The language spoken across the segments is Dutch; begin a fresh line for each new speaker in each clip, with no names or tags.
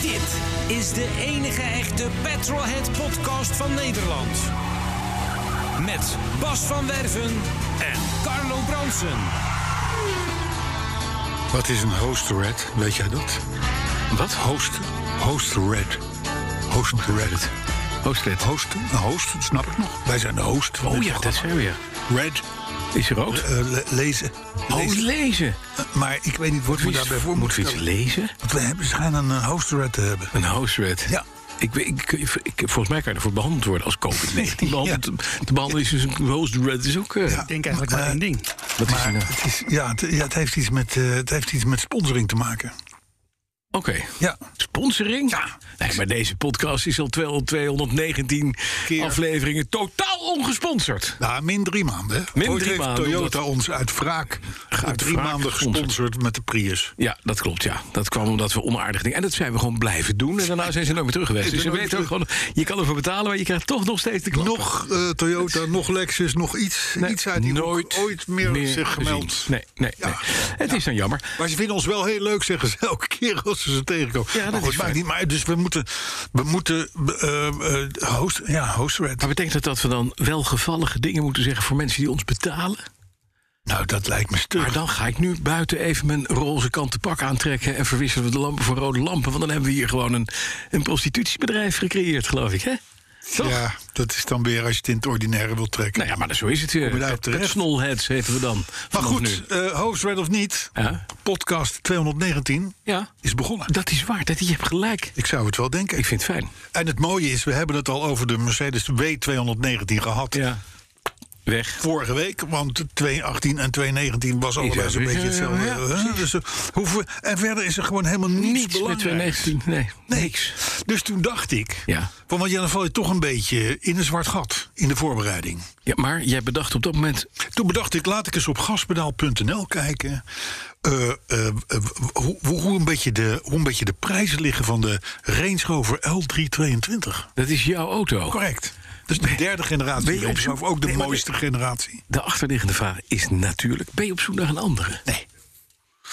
Dit is de enige echte Petrolhead podcast van Nederland. Met Bas van Werven en Carlo Bronsen.
Wat is een host red? Weet jij dat? Wat? Host, host red. Host Reddit.
Hoofdstad.
Host, een host, snap ik nog. Wij zijn de host van
Oh
dit
ja, dat
programma.
is hij weer.
Red,
Is hij rood?
eh, le- lezen.
oh,
Lezen.
lezen.
Eh, maar ik weet niet wat we
Moet
daarbij
we
voor
moet
moeten
iets
stellen.
lezen?
Want we hebben, schijnen een host red te hebben.
Een housewet.
Ja.
Ik, weet- ik, ik, ik- volgens mij kan je ervoor behandeld worden als COVID-19. Behandeld, Te behandelen is dus een host red. Is ook, eh,
Ja.
Ik denk eigenlijk maar
Eh,
één ding.
Wat is
Maar
een, eh,
het, is, ja, het, ja, het, heeft iets met, eh, het heeft iets met sponsoring te maken.
Oké.
Ja.
Sponsoring? Ja. Nee, maar deze podcast is al 200 219 afleveringen totaal ongesponsord.
Nou, min drie maanden. hè.
Min
Ooit
drie
heeft
maanden,
Toyota
omdat-
ons uit wraak uit drie
wraak
maanden
gesponsord.
gesponsord met de Prius.
Ja, dat klopt, ja. Dat kwam omdat we onaardig dingen... En dat zijn we gewoon blijven doen. En daarna zijn ze nooit meer terug geweest.
Ik
Dus je
ben nooit
weet ook gewoon... Je kan ervoor betalen, maar je krijgt toch nog steeds de klap.
Nog eh, Toyota, nog Lexus, nog iets,
Nee,
iets uit die hoek
nooit
ooit meer, zich
gezien.
gemeld.
Nee, nee,
Ja.
nee. Het is dan jammer.
Maar ze vinden ons wel heel leuk, zeggen ze elke keer als ze ze tegenkomen.
Ja, dat
maar
is
maakt
fijn.
niet. Maar dus we moeten, we moeten eh, eh, host, ja, hostred.
Maar betekent dat dat Ah, we dan wel gevallige dingen moeten zeggen voor mensen die ons betalen?
Nou, dat lijkt me stuk.
Maar dan ga ik nu buiten even mijn roze kanten pak aantrekken en verwisselen we de lampen voor rode lampen. Want dan hebben we hier gewoon een, een prostitutiebedrijf gecreëerd, geloof ik, hè? Toch?
Ja, dat is dan weer als je het in het ordinaire wilt trekken.
Nou ja, maar zo is het weer.
Kom je daar op terecht?
Het Snolheads heten we dan.
maar
vanaf
goed,
nu.
eh hostred of niet,
Ja.
podcast 219
Ja,
is begonnen.
dat is waar. Dat, je hebt gelijk.
Ik zou het wel denken.
Ik vind het fijn.
En het mooie is, we hebben het al over de Mercedes W219 gehad.
Ja. Weg.
Vorige week, want 218 en 219 was allebei
Ja,
zo'n beetje
ja,
hetzelfde.
ja,
hè? dus, eh, hoeven, en verder is er gewoon helemaal niets,
Niets met
belangrijks.
2019. Nee, niks.
Dus toen dacht ik,
Ja.
van, want ja, dan val je toch een beetje in een zwart gat in de voorbereiding.
Ja, maar jij bedacht op dat moment
Toen bedacht ik, laat ik eens op gaspedaal.nl kijken. eh, eh, eh, hoe, hoe, hoe een beetje de, hoe een beetje de prijzen liggen van de Range Rover L322.
Dat is jouw auto.
Correct. Dus de derde generatie.
ben je op
Range Rover,
zoek-
ook de
Nee, maar-
mooiste generatie.
De achterliggende vraag is natuurlijk: ben je op zoek naar een andere?
Nee.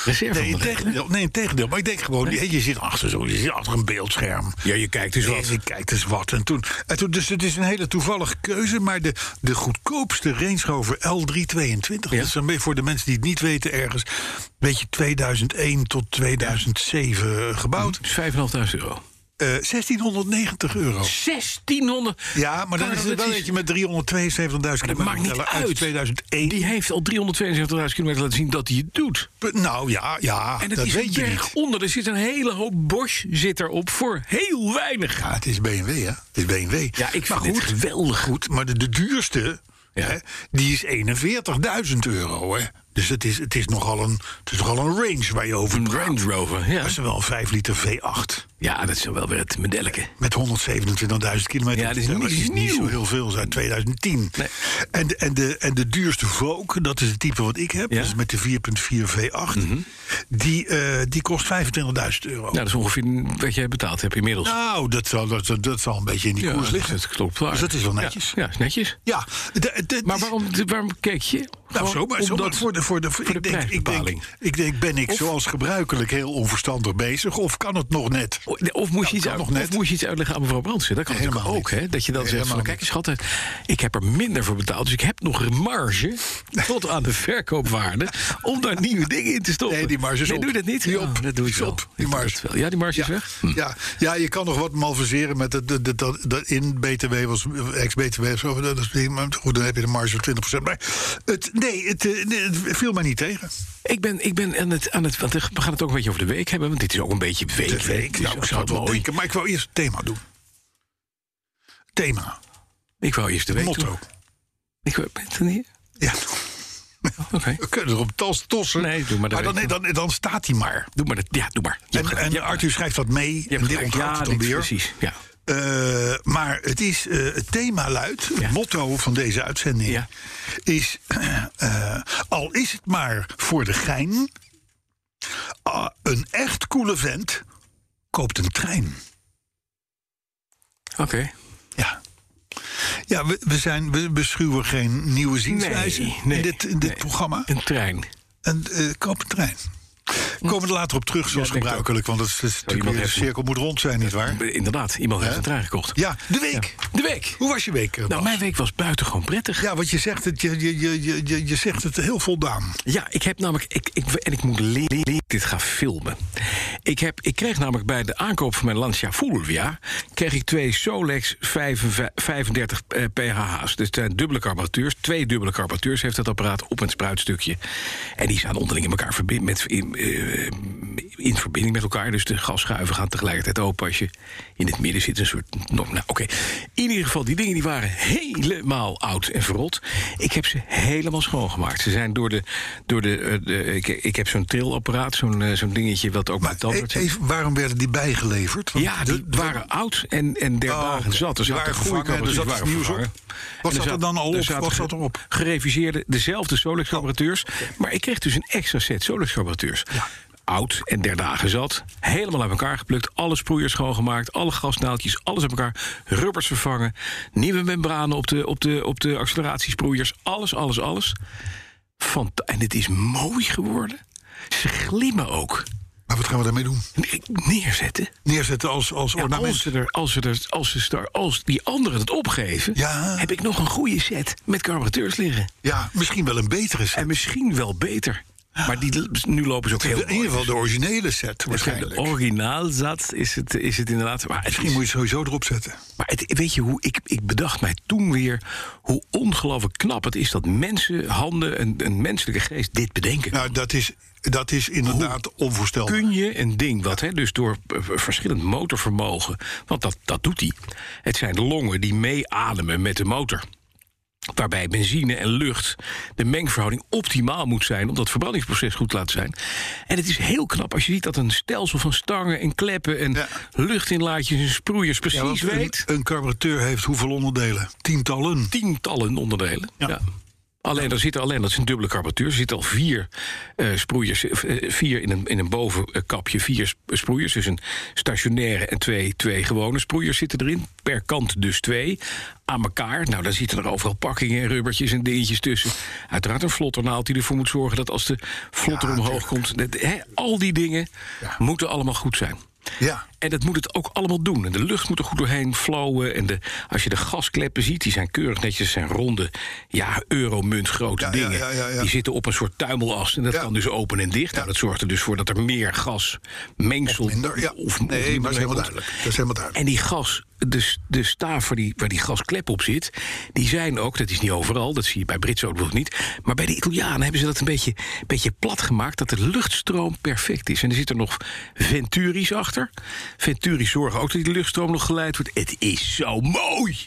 Reserve.
Nee, in tegendeel. Nee, in tegendeel. Maar ik denk gewoon, je, je zit achter zo, je zit achter een beeldscherm.
Ja, je kijkt dus
Nee,
wat.
Je kijkt dus wat. En toen, en toen, dus het is een hele toevallige keuze, maar de, de goedkoopste Range Rover L322, dat is dan weer voor de mensen die het niet weten, ergens een beetje 2001 tot 2007 gebouwd.
Dus 5.500 euro.
Eh, 1690 euro.
1600.
Ja, maar dan
Karel,
is het
dat
wel eentje met 372.000
dat
kilometer
maakt niet
teller
uit.
uit 2001.
Die heeft al 372.000 kilometer laten zien dat hij het doet.
Nou ja, ja
En het
dat
is
weet je
een
niet.
berg onder. Er zit een hele hoop Bosch zit erop voor heel weinig.
Ja, het is BMW, hè? Het is BMW.
Ja, ik
maar
vind
goed,
dit geweldig.
goed. Maar de, de duurste,
Ja.
hè, die is 41.000 euro, hè? Dus het is, het, is nogal een, het is nogal een range waar je over
Een
praat.
Range Rover. Ja.
Dat is wel een 5 liter V8
ja, dat is wel weer het Nou, medelleke.
met 127.000 kilometer.
Ja, dat is
Dat
niet-
is niet
nieuw.
zo heel veel, dat is uit 2010.
Nee.
En, de- en, de, en de duurste Vogue, dat is het type wat ik heb,
Ja. Mhm.
dat is met de 4.4 V8, die, eh, die kost 25.000 euro.
Nou, dat is ongeveer wat jij betaald hebt inmiddels.
Nou, dat zal, dat, dat, dat zal een beetje in die
ja,
koers liggen.
Dat klopt waar.
Dus dat is wel netjes.
Ja, ja is netjes.
Ja, de- de-
Maar waarom, waarom keek je?
Nou,
Gewoon
zomaar, zomaar
omdat-
voor de, voor de,
de
ik, denk, ik, denk,
prijsbepaling.
ik denk, ben ik
Of-
zoals gebruikelijk heel onverstandig bezig? Of kan het nog net?
O- nee, Of moest, je
Ja,
iets
kan
uit,
nog
of
net.
moest je iets uitleggen aan mevrouw Brandsen? Dat kan
Nee,
natuurlijk ook,
helemaal
hè?
niet.
Dat je dan
Nee,
zegt van,
helemaal
kijk schat, ik heb er minder voor betaald... dus ik heb nog een marge tot aan de verkoopwaarde... om daar nieuwe dingen in te stoppen.
Nee, die marge is
nee,
op.
doe je dat niet?
Die
Ja,
op.
dat doe ik
Is
wel.
op,
Ik
die
doe
marge.
dat wel. Ja, die marge
Ja,
is weg.
ja, ja, je kan nog wat malverseren met dat dat- dat- dat- dat in BTW was, ex-BTW of zo. Dat is, maar goed, dan heb je de marge van 20%. Maar het, nee, het, eh, nee, het viel mij niet tegen.
Ik ben, ik ben aan, het, aan het... Want we gaan het ook een beetje over de week hebben... want dit is ook een beetje week.
De
hè? Dus
week,
Het is
nou, ik
ook
zou het
wel
wel
mooi.
denken. Maar ik wou eerst het thema doen. Thema,
Ik wou eerst de week eh,
motto.
doen. Ik wou, ben je het er niet?
Ja.
Oké.
We kunnen er op tas tossen.
Nee, doe maar, dat
dan,
weet ik
dan, dan staat hij maar.
Doe maar dat. Ja, doe maar. Je hebt
En,
gelijk,
en
je hebt
Arthur schrijft dat mee.
Je
en
hebt
die
gelijk.
onthoudt
ja,
het dan
dit-
weer.
precies. Ja.
Eh, maar het, is, eh, het thema luidt, het
Ja.
motto van deze uitzending...
Ja.
is, eh, al is het maar voor de gein... ah, een echt coole vent koopt een trein.
Oké.
Ja. Ja, we, we, zijn, we beschuwen geen nieuwe zienswijze
Nee, nee,
in dit, in dit
nee.
programma.
Een trein.
En eh, koop een trein. Komen we er later op terug, zoals
Hm. Ja, denk ik
gebruikelijk. Want het is natuurlijk
iemand
weer- de
heeft-
cirkel moet rond zijn, nietwaar?
Inderdaad, iemand heeft een trein gekocht.
Ja, de week.
De week.
Hoe was je week? eh,
Nou,
Bas?
mijn week was buitengewoon prettig.
Ja, want je zegt het, je, je, je, je- je, je zegt het heel voldaan.
Ja, ik heb namelijk. Ik, ik, en ik moet leren dat ik dit ga filmen. Ik, heb, ik kreeg namelijk bij de aankoop van mijn Lancia Fulvia. kreeg ik twee Solex 55 35 eh, PHH's. Dus het zijn dubbele carburateurs. Twee dubbele carburateurs heeft het apparaat op een spruitstukje. En die staan onderling in elkaar verbind, met, in, eh, in verbinding met elkaar. Dus de gasschuiven gaan tegelijkertijd open als je in het midden zit. Een soort. Nou, oké. In ieder geval, die dingen die waren helemaal oud en verrot. Ik heb ze helemaal schoongemaakt. Ze zijn door de. Door de, eh, de- ik, ik heb zo'n trillapparaat, zo'n eh, zo'n dingetje wat ook
Maar
met tandarts
e- even, waarom werden die bijgeleverd? Want
ja,
de-
die waren oud en, en der
Oh,
dagen
oké.
zat. Dus
Die
had
waren
de goede
vervangen,
carburateurs
er zat
waren
iets nieuws op.
vervangen.
Wat
En
zat er dan al op?
zaten
Wat zat
ge-
erop?
Gereviseerde, dezelfde Solex carburateurs. Maar ik kreeg dus een extra set Solex carburateurs. Oud en der dagen zat. Helemaal uit elkaar geplukt. Alle sproeiers schoongemaakt. Alle gasnaaldjes. Alles uit elkaar. Rubbers vervangen. Nieuwe membranen op de, op de, op de acceleratiesproeiers. Alles, alles, alles. Fanta- en het is mooi geworden. Ze glimmen ook.
Maar Nou, wat gaan we daarmee doen?
Neerzetten.
Neerzetten als, als
Ja,
ornament.
als, ze er, als, ze er, als, ze star, als die anderen het opgeven,
Ja.
heb ik nog een goede set met carburateurs liggen.
Ja, misschien wel een betere set.
En misschien wel beter. Maar die, nu lopen ze ook heel
in ieder geval de originele set waarschijnlijk.
De originaal zat is het, is het inderdaad. Maar, het
Misschien
is-
moet je het sowieso erop zetten.
maar het, weet je hoe ik, ik bedacht mij toen weer hoe ongelooflijk knap het is dat mensen, handen, een, een menselijke geest dit bedenken.
Nou, dat is, dat is inderdaad onvoorstelbaar.
kun je een ding wat, hè, dus door eh, verschillend motorvermogen, want dat, dat doet hij. Het zijn de longen die meeademen met de motor. Waarbij benzine en lucht de mengverhouding optimaal moet zijn. om dat verbrandingsproces goed te laten zijn. En het is heel knap als je ziet dat een stelsel van stangen en kleppen. en
Ja.
luchtinlaatjes en sproeiers precies
Ja, want een-
weet.
Een, carburateur heeft hoeveel onderdelen? Tientallen.
tientallen onderdelen. Ja.
Ja.
Alleen, er zitten, alleen, dat is een dubbele carburateur. Er zitten al vier eh, sproeiers, eh, vier in een, in een bovenkapje, vier sp- sproeiers. Dus een stationaire en twee, twee gewone sproeiers zitten erin. Per kant dus twee. Aan elkaar, nou dan zitten er overal pakkingen en rubbertjes en dingetjes tussen. Uiteraard een flotternaald die ervoor moet zorgen dat als de vlotter omhoog komt... dat- hè, al die dingen moeten allemaal goed zijn.
Ja.
En dat moet het ook allemaal doen. En de lucht moet er goed doorheen flowen. En de, als je de gaskleppen ziet, die zijn keurig netjes. zijn ronde, ja, euromunt grote
Ja, ja,
dingen.
ja, ja, ja.
Die zitten op een soort tuimelas. En dat
Ja.
kan dus open en dicht. Nou, dat zorgt er dus voor dat er meer gas mengsel...
Minder, ja.
of- of
nee, maar dat
minder
is helemaal
komt.
duidelijk. Dat is helemaal duidelijk.
En die gas, de, de staaf waar die, waar die gasklep op zit, die zijn ook, dat is niet overal, dat zie je bij Britse auto's niet, maar bij de Italianen hebben ze dat een beetje, beetje plat gemaakt, dat de luchtstroom perfect is. En er zitten nog Venturi's achter. Venturi's zorgen ook dat die luchtstroom nog geleid wordt. Het is zo mooi!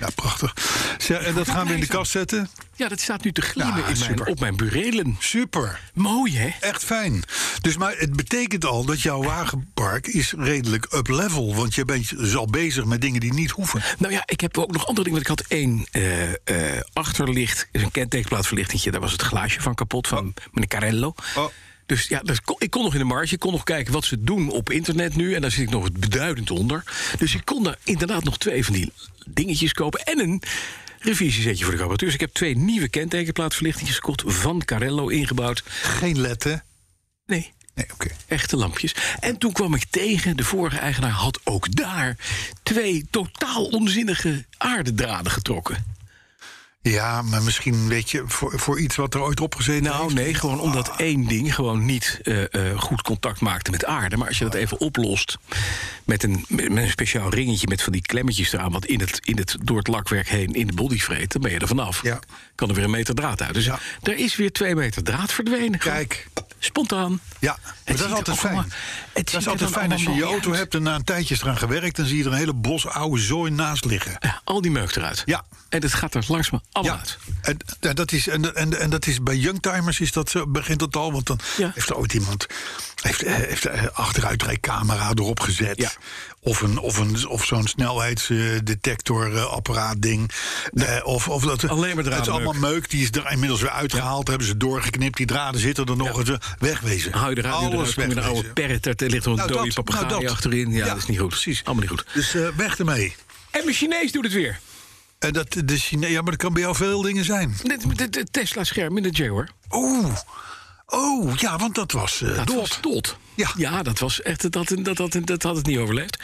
Ja, prachtig. Zeg, en dat gaan we in de kast zetten.
Ja, dat staat nu te glimmen
Ja,
in mijn,
super.
op mijn burelen.
Super.
Mooi, hè?
Echt fijn. Dus maar het betekent al dat jouw wagenpark is redelijk up-level. Want je bent dus al bezig met dingen die niet hoeven.
Nou ja, ik heb ook nog andere dingen. Want ik had één eh, eh, achterlicht, een kentekenplaatverlichtingje. Daar was het glaasje van kapot van meneer Carello.
Oh.
Dus ja, dat kon- ik kon nog in de marge. Ik kon nog kijken wat ze doen op internet nu. En daar zit ik nog beduidend onder. Dus ik kon daar inderdaad nog twee van die dingetjes kopen. En een revisiezetje voor de carburateurs. Ik heb twee nieuwe kentekenplaatverlichtingjes gekocht. Van Carello ingebouwd.
Geen letten.
Nee,
Nee, oké.
Echte lampjes. En toen kwam ik tegen, de vorige eigenaar had ook daar twee totaal onzinnige aardedraden getrokken.
Ja, maar misschien weet je, voor, voor iets wat er ooit opgezeten
Nou
heeft.
nee, gewoon omdat
Ah.
één ding gewoon niet eh, eh, goed contact maakte met aarde. Maar als je dat even oplost met een, met een speciaal ringetje met van die klemmetjes eraan... wat in het, in het, door het lakwerk heen in de body vreet, dan ben je er vanaf.
Ja.
Kan er weer een meter draad uit. Dus
Ja.
er is weer twee meter draad verdwenen.
Kijk,
Spontaan.
Ja, maar dat
Het ziet
is
er
altijd
ook allemaal-
fijn.
het ziet
Dat is
er
altijd
dan
fijn als je je
allemaal mooi
auto
uit.
hebt en na een tijdje is eraan gewerkt... dan zie je er een hele bos oude zooi naast liggen.
Ja, al die meuk eruit.
Ja.
En het gaat er langs me allemaal uit.
En, en dat is, en, en, en dat is bij Youngtimers is dat, zo, begint dat al. Want dan
Ja.
heeft er ooit iemand heeft, eh, heeft eh, achteruitrijcamera erop gezet.
Ja.
Of, een, of, een, of zo'n eh, snelheidsdetector-apparaat-ding. Eh, of, of dat,
Alleen maar
Het is
draadmeuk.
allemaal meuk. Die is er inmiddels weer uitgehaald. Hebben ze doorgeknipt. Die draden zitten er nog. eens eh, Wegwezen.
Hou je de radio
Alles
eruit, kom je een oude
wegwezen.
perret, daar ligt nog een
Nou,
dode
dat, nou,
papegaai
dat.
achterin. Ja,
Ja,
dat is niet goed.
precies.
Allemaal niet goed.
Dus eh, weg ermee.
En mijn Chinees doet het weer.
En dat, de Chine ja, maar dat kan bij jou veel dingen zijn.
Dit- dit- dit Tesla-scherm in de Jaguar.
Oh, oh ja, want dat was eh
Dat
dood.
was tot.
Ja.
ja, dat was echt. Dat, dat, dat, dat had het niet overleefd.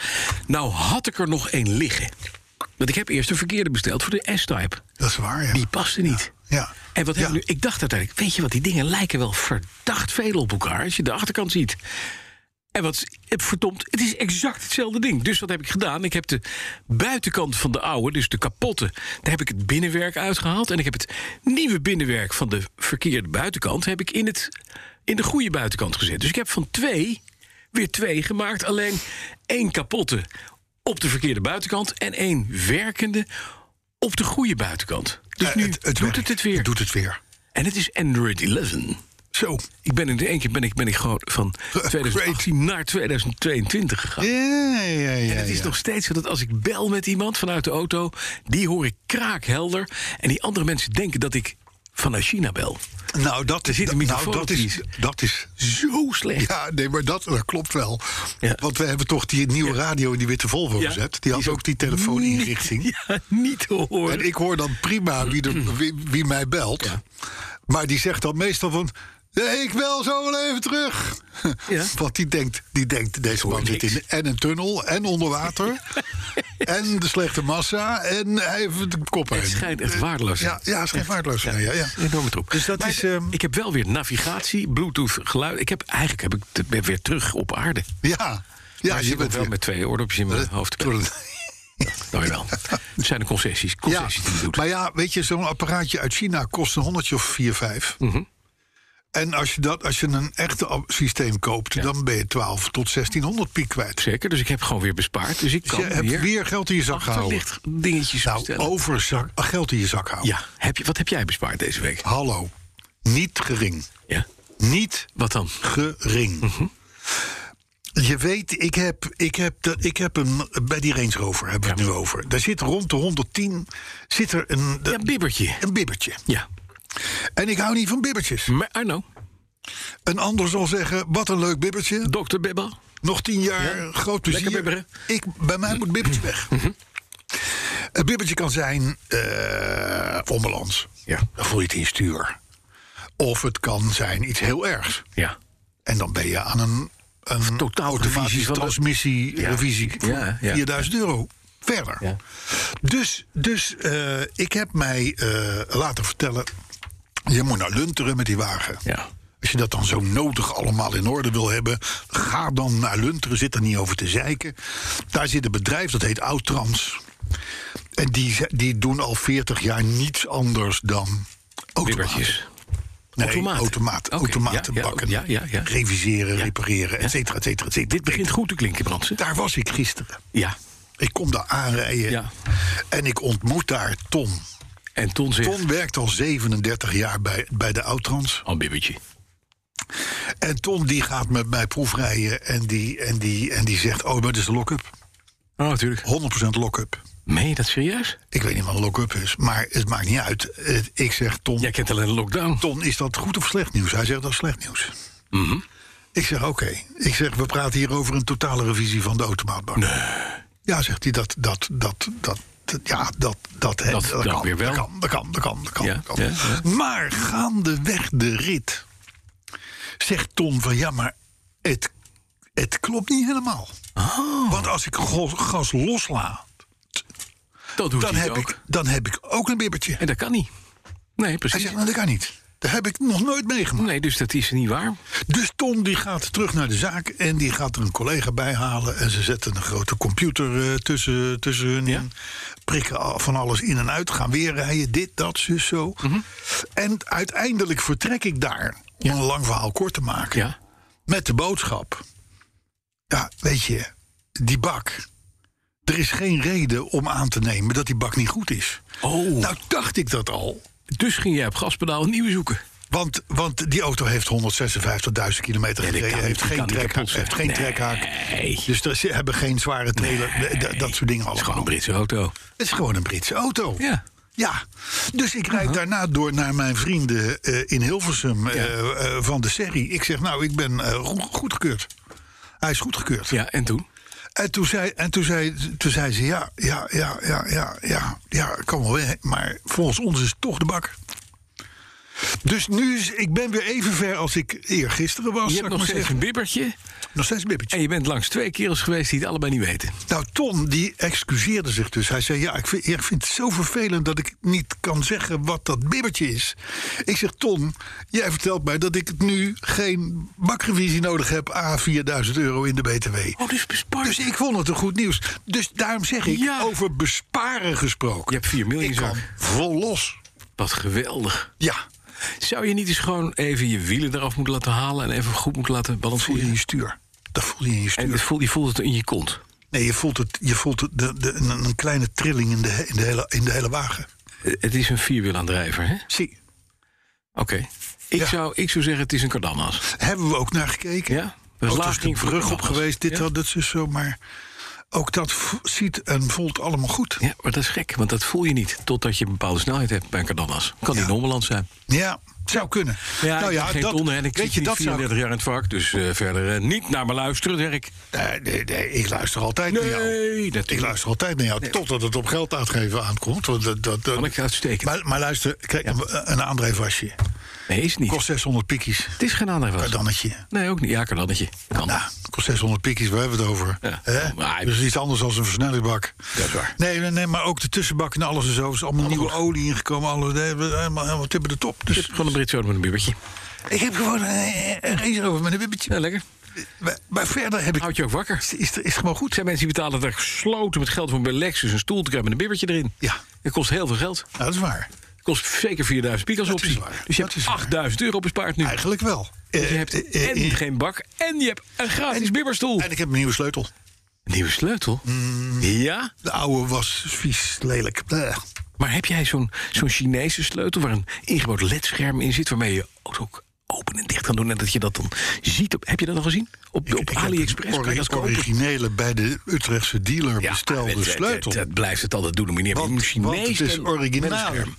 Nou had ik er nog één liggen. Want ik heb eerst een verkeerde besteld voor de S-Type.
Dat is waar, ja.
Die paste niet.
Ja.
En wat heb
Ja.
ik nu? Ik dacht uiteindelijk, weet je wat, die dingen lijken wel verdacht veel op elkaar als je de achterkant ziet. En wat is- het verdomd, het is exact hetzelfde ding. Dus wat heb ik gedaan? Ik heb de buitenkant van de oude, dus de kapotte, daar heb ik het binnenwerk uitgehaald. En ik heb het nieuwe binnenwerk van de verkeerde buitenkant heb ik in, het, in de goede buitenkant gezet. Dus ik heb van twee weer twee gemaakt. Alleen één kapotte op de verkeerde buitenkant en één werkende op de goede buitenkant. Dus
Eh,
nu
het- het
doet
werkt.
het het weer.
Het doet het weer.
En het is Android 11.
Zo.
Ik ben in de één keer ben ik, ben ik gewoon van 2018 naar 2022 gegaan.
Ja, ja, ja.
En het is nog steeds zo dat als ik bel met iemand vanuit de auto, die hoor ik kraakhelder. En die andere mensen denken dat ik vanuit China bel.
Nou, dat is,
zit een
nou,
microfoon
dat
op
is,
die-
dat is...
Zo slecht.
Ja, nee, maar dat, dat klopt wel.
Ja.
Want we hebben toch die nieuwe radio in die witte Volvo
Ja.
gezet. Die had
is
ook die telefooninrichting.
niet- Ja, niet te horen.
En ik hoor dan prima wie, er, wie, wie mij belt. Maar die zegt dan meestal van... "Nee, Ik bel zo wel even terug.
Ja.
Want die denkt, die denkt deze
hoor
man zit
niks.
in en een tunnel en onder water. en de slechte massa en hij heeft de kop
Het
uit.
schijnt echt waardeloos. te
Ja,
zijn.
ja, schijnt waardeloos. te zijn, Ja, ja.
Enorme troep.
Dus dat
Maar
is, ehm,
Ik heb wel weer navigatie, bluetooth, geluid. Ik heb, eigenlijk heb ik, de- ben weer terug op aarde.
Ja, ja
maar je bent wel
weer-
met twee oordopjes in mijn hoofd. Nou jawel. Het zijn de concessies.
Ja,
Concessies die je doet.
maar ja, weet je, zo'n apparaatje uit China kost een honderdje of vier, vijf.
Mhm.
En als je, dat, als je een echte app- systeem koopt, dan ben je 12 tot 1600 piek kwijt.
Zeker, dus ik heb gewoon weer bespaard. Dus ik
Dus
kan
je hebt
weer,
weer geld in je zak gehouden.
achterlicht dingetjes
Nou,
bestellen.
over zak- geld in je zak houden.
Ja, heb je, wat heb jij bespaard deze week?
Hallo, niet gering.
Ja.
Niet
Wat dan?
gering.
Mhm.
Je weet, ik heb, ik heb, dat, ik heb een, bij die Range Rover hebben we het nu over. Daar zit rond de 110 zit er een,
Ja, bibbertje.
een bibbertje.
Ja.
En ik hou niet van bibbertjes.
Maar Arno,
Een ander zal zeggen, wat een leuk bibbertje.
dokter Bibba.
Nog tien jaar, groot plezier.
Lekker bibberen. Mhm.
Ik, bij mij moet bibbertje weg. Een bibbertje kan zijn eh onbalans.
Ja.
Dan voel je het in je stuur. Of het kan zijn iets heel ergs.
Ja.
En dan ben je aan een, een
Totaal revisie
automatische
van de-
transmissie,
Ja.
revisie van
Ja, ja.
4000 euro verder.
Ja.
Dus, dus eh, ik heb mij eh, laten vertellen... je moet nou lunteren met die wagen.
Ja.
Als je dat dan zo nodig allemaal in orde wil hebben... ga dan naar lunteren, zit er niet over te zeiken. Daar zit een bedrijf, dat heet Outrans. En die, ze- die doen al 40 jaar niets anders dan automaten.
Bibbertjes.
Nee,
Automaten.
automaten. Automaten,
Oké, ja, ja,
bakken.
ja, ja, ja.
Reviseren, repareren, et cetera, et cetera, et cetera.
Dit begint goed te klinken, Brandsen.
Daar was ik gisteren.
Ja.
Ik kom daar aanrijden.
Ja.
En ik ontmoet daar Ton.
En Ton zegt,
Ton werkt al 37 jaar bij, bij de Outrans.
al bibbertje.
En Ton die gaat met mij proefrijden. En die, en die, en die zegt, oh, maar dit is de lock-up.
Oh, natuurlijk.
100% lock-up.
Meen je dat serieus?
Ik weet niet wat een lock-up is, maar het maakt niet uit. Eh, Ik zeg, Ton,
Jij kent alleen de lockdown.
Ton, is dat goed of slecht nieuws? Hij zegt, dat is slecht nieuws.
Mhm.
Ik zeg, oké. Ik zeg, we praten hier over een totale revisie van de automaatbak. Ja, zegt hij, dat, dat, dat, dat, dat- ja, dat, dat, hè,
Dat- dat
kan,
weer wel.
dat kan, dat kan, dat kan, dat kan.
Ja,
dat kan.
ja, ja.
Maar gaandeweg de rit zegt Ton van, ja, maar het, het klopt niet helemaal.
Oh.
Want als ik go- gas loslaat,
Dat doet
dan
hij
heb,
ook.
ik, dan heb ik ook een bibbertje.
En dat kan niet. Nee,
Hij
precies.
zegt, nou, dat kan niet. Dat heb ik nog nooit meegemaakt.
Nee, dus dat is niet waar.
Dus Tom die gaat terug naar de zaak en die gaat er een collega bij halen. En ze zetten een grote computer eh, tussen, tussen hun
Ja.
in. Prikken al- van alles in en uit. Gaan weer rijden. Dit, dat, zus, zo.
Mhm.
En uiteindelijk vertrek ik daar. Om een lang verhaal kort te maken.
Ja.
Met de boodschap. Ja, weet je. Die bak. Er is geen reden om aan te nemen dat die bak niet goed is.
Oh.
Nou dacht ik dat al.
Dus ging jij op gaspedaal een nieuwe zoeken.
Want, want die auto heeft 156.000 kilometer
Ja, die
gereden.
kan
heeft,
niet- die
geen
kan niet
trekhaak,
kapot zijn.
heeft geen trekhaak.
Nee.
Dus er- ze hebben geen zware trailer. d- d- Dat soort dingen
Het is
allemaal.
gewoon een Britse auto.
Het is gewoon een Britse auto.
Ja. Uh-huh.
Ja. Dus ik rijd daarna door naar mijn vrienden eh, in Hilversum eh, eh, van de serie. Ik zeg, nou, ik ben eh, go- goedgekeurd. Hij is goedgekeurd.
Ja, en toen?
En toen zei, en toen zei, toen zei ze, ja, ja, ja, ja, ja, ja, ja, kan wel weg. Maar volgens ons is het toch de bak. Dus nu is, ik ben weer even ver als ik eergisteren was. zal
Je hebt
ik
nog
maar
steeds
zeggen.
een bibbertje.
nog steeds bibbertje.
En je bent langs twee kerels geweest die het allebei niet weten.
Nou, Tom, die excuseerde zich dus. Hij zei, ja, ik vind, ik vind het zo vervelend dat ik niet kan zeggen wat dat bibbertje is. Ik zeg, Tom, jij vertelt mij dat ik nu geen bakrevisie nodig heb... a 4000 euro in de BTW.
Oh, dus bespaard.
Dus ik vond het een goed nieuws. Dus daarom zeg ik,
Ja.
over besparen gesproken.
Je hebt 4 miljoen
Ik kan
zak.
vol los.
Wat geweldig.
Ja,
Zou je niet eens gewoon even je wielen eraf moeten laten halen... en even goed moeten laten
voel je in
balanceren?
je stuur. Dat voel je in je
En het
stuur.
voelt, je voelt het in je kont.
Nee, je voelt, het, je voelt het, de, de, een een kleine trilling in de, he- in de, hele, in de hele wagen.
Eh, Het is een vierwielaandrijver, hè? Oké.
Zie,
Ik,
Ja.
zou, ik zou zeggen, het is een Cardanas.
hebben we ook naar gekeken.
Ja? Er
Er
is
is
laag
de
ging voor
brug op
Cardanas.
geweest, dit,
ja?
dat, dat, zus, zo. Maar ook dat v- ziet en voelt allemaal goed.
Ja, maar dat is gek, want dat voel je niet... totdat je een bepaalde snelheid hebt bij een Cardanas. Kan die
Ja.
Nommeland zijn.
Ja, zou kunnen.
Ja, ik ben geen donder en ik
weet
zit
je,
niet
Nou dat zou...
34 jaar in het vak... dus eh, verder eh, niet naar me luisteren, zeg ik.
Nee, nee, nee, ik luister altijd naar jou.
dat
Ik luister altijd naar jou, totdat het op geld uitgeven aankomt. Want dat, dat, dat-
Kan ik uitstekend.
Maar, maar luister, kijk, een, een André Vasje.
Nee, is het niet.
Kost 600 piekjes.
Het is geen aandrijver.
Kardannetje.
Nee, ook niet. Ja, Cardannetje. Kan.
Nou, kost 600 piekjes, waar hebben we het over?
Ja. Nou,
Hè?
Maar hij-
dus iets anders dan een versnellingsbak.
Dat is waar.
Nee, nee, nee, maar ook de tussenbak en alles en zo. Er is allemaal nieuwe olie ingekomen. Alle, nee, we- helemaal, helemaal tippen de top.
Dus
Dus
gewoon een Britse auto met een bibbertje.
ik heb gewoon eh, een race over met een wibbetje.
Ja, Nou, lekker.
Maar, maar verder heb ik...
Houd je ook wakker.
Is, is, is gewoon
Er
goed.
zijn mensen die betalen daar gesloten met geld voor een Lexus een stoel te krijgen met een bibbertje erin.
Ja.
Het kost heel veel geld.
Nou, dat is waar.
Het kost zeker 4000 piek als
Dat is
optie.
waar.
Dus je
Dat
hebt
is waar.
8000 euro bespaard nu.
Eigenlijk wel. Eh,
Dus je hebt en geen bak en je hebt een gratis bibberstoel.
en Mm. ik heb een nieuwe sleutel.
Een nieuwe sleutel? Ja?
De oude was vies, lelijk. Blech.
Maar heb jij zo'n zo'n Chinese sleutel waar een ingebouwd ledscherm in zit... waarmee je auto ook open en dicht kan doen en dat je dat dan ziet? Op, heb je dat al gezien? Op, op
Ik heb
AliExpress
een
kan je dat kopen.
originele bij de Utrechtse dealer bestelde
het- het-
sleutel.
Het, het blijft het altijd doen, meneer.
Want-
Een Chinees
want het is
en- met een
originaal.
scherm.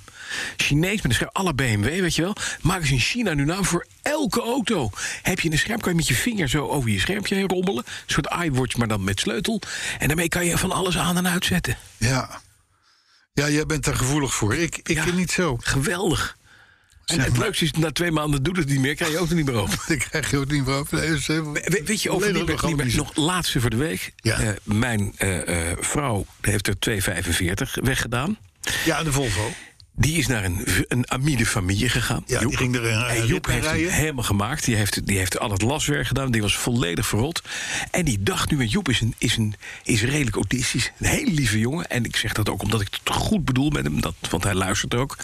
Chinees met een scherm, alle BMW, weet je wel. Maken ze in China nu naam voor elke auto. Heb je een scherm, kan je met je vinger zo over je schermpje heen rommelen. Een soort iWatch, maar dan met sleutel. En daarmee kan je van alles aan en uitzetten.
Ja. ja, jij bent daar gevoelig voor. Ik, ik
Ja.
niet zo.
Geweldig. En
Zeg
het
maar.
leukste is, na twee maanden doet het niet meer, krijg je auto niet meer open.
Ik krijg je ook niet meer over. Nee, dat is helemaal-
We- weet je, over
Alleen dat
Liebert,
nog
Liebert,
niet
nog laatste voor de week.
Ja.
Eh, mijn eh, eh, vrouw heeft er 2,45 weggedaan.
Ja, de Volvo.
Die is naar een, v- een amide familie gegaan.
Ja, die ging er een, eh,
en
rit
Joep
mee
heeft hem
rijden.
helemaal gemaakt. Die heeft, die heeft al het laswerk gedaan. Die was volledig verrot. En die dacht nu... en Joep is, een, is, een, is redelijk autistisch. Een hele lieve jongen. En ik zeg dat ook omdat ik het goed bedoel met hem. Dat, want hij luistert ook.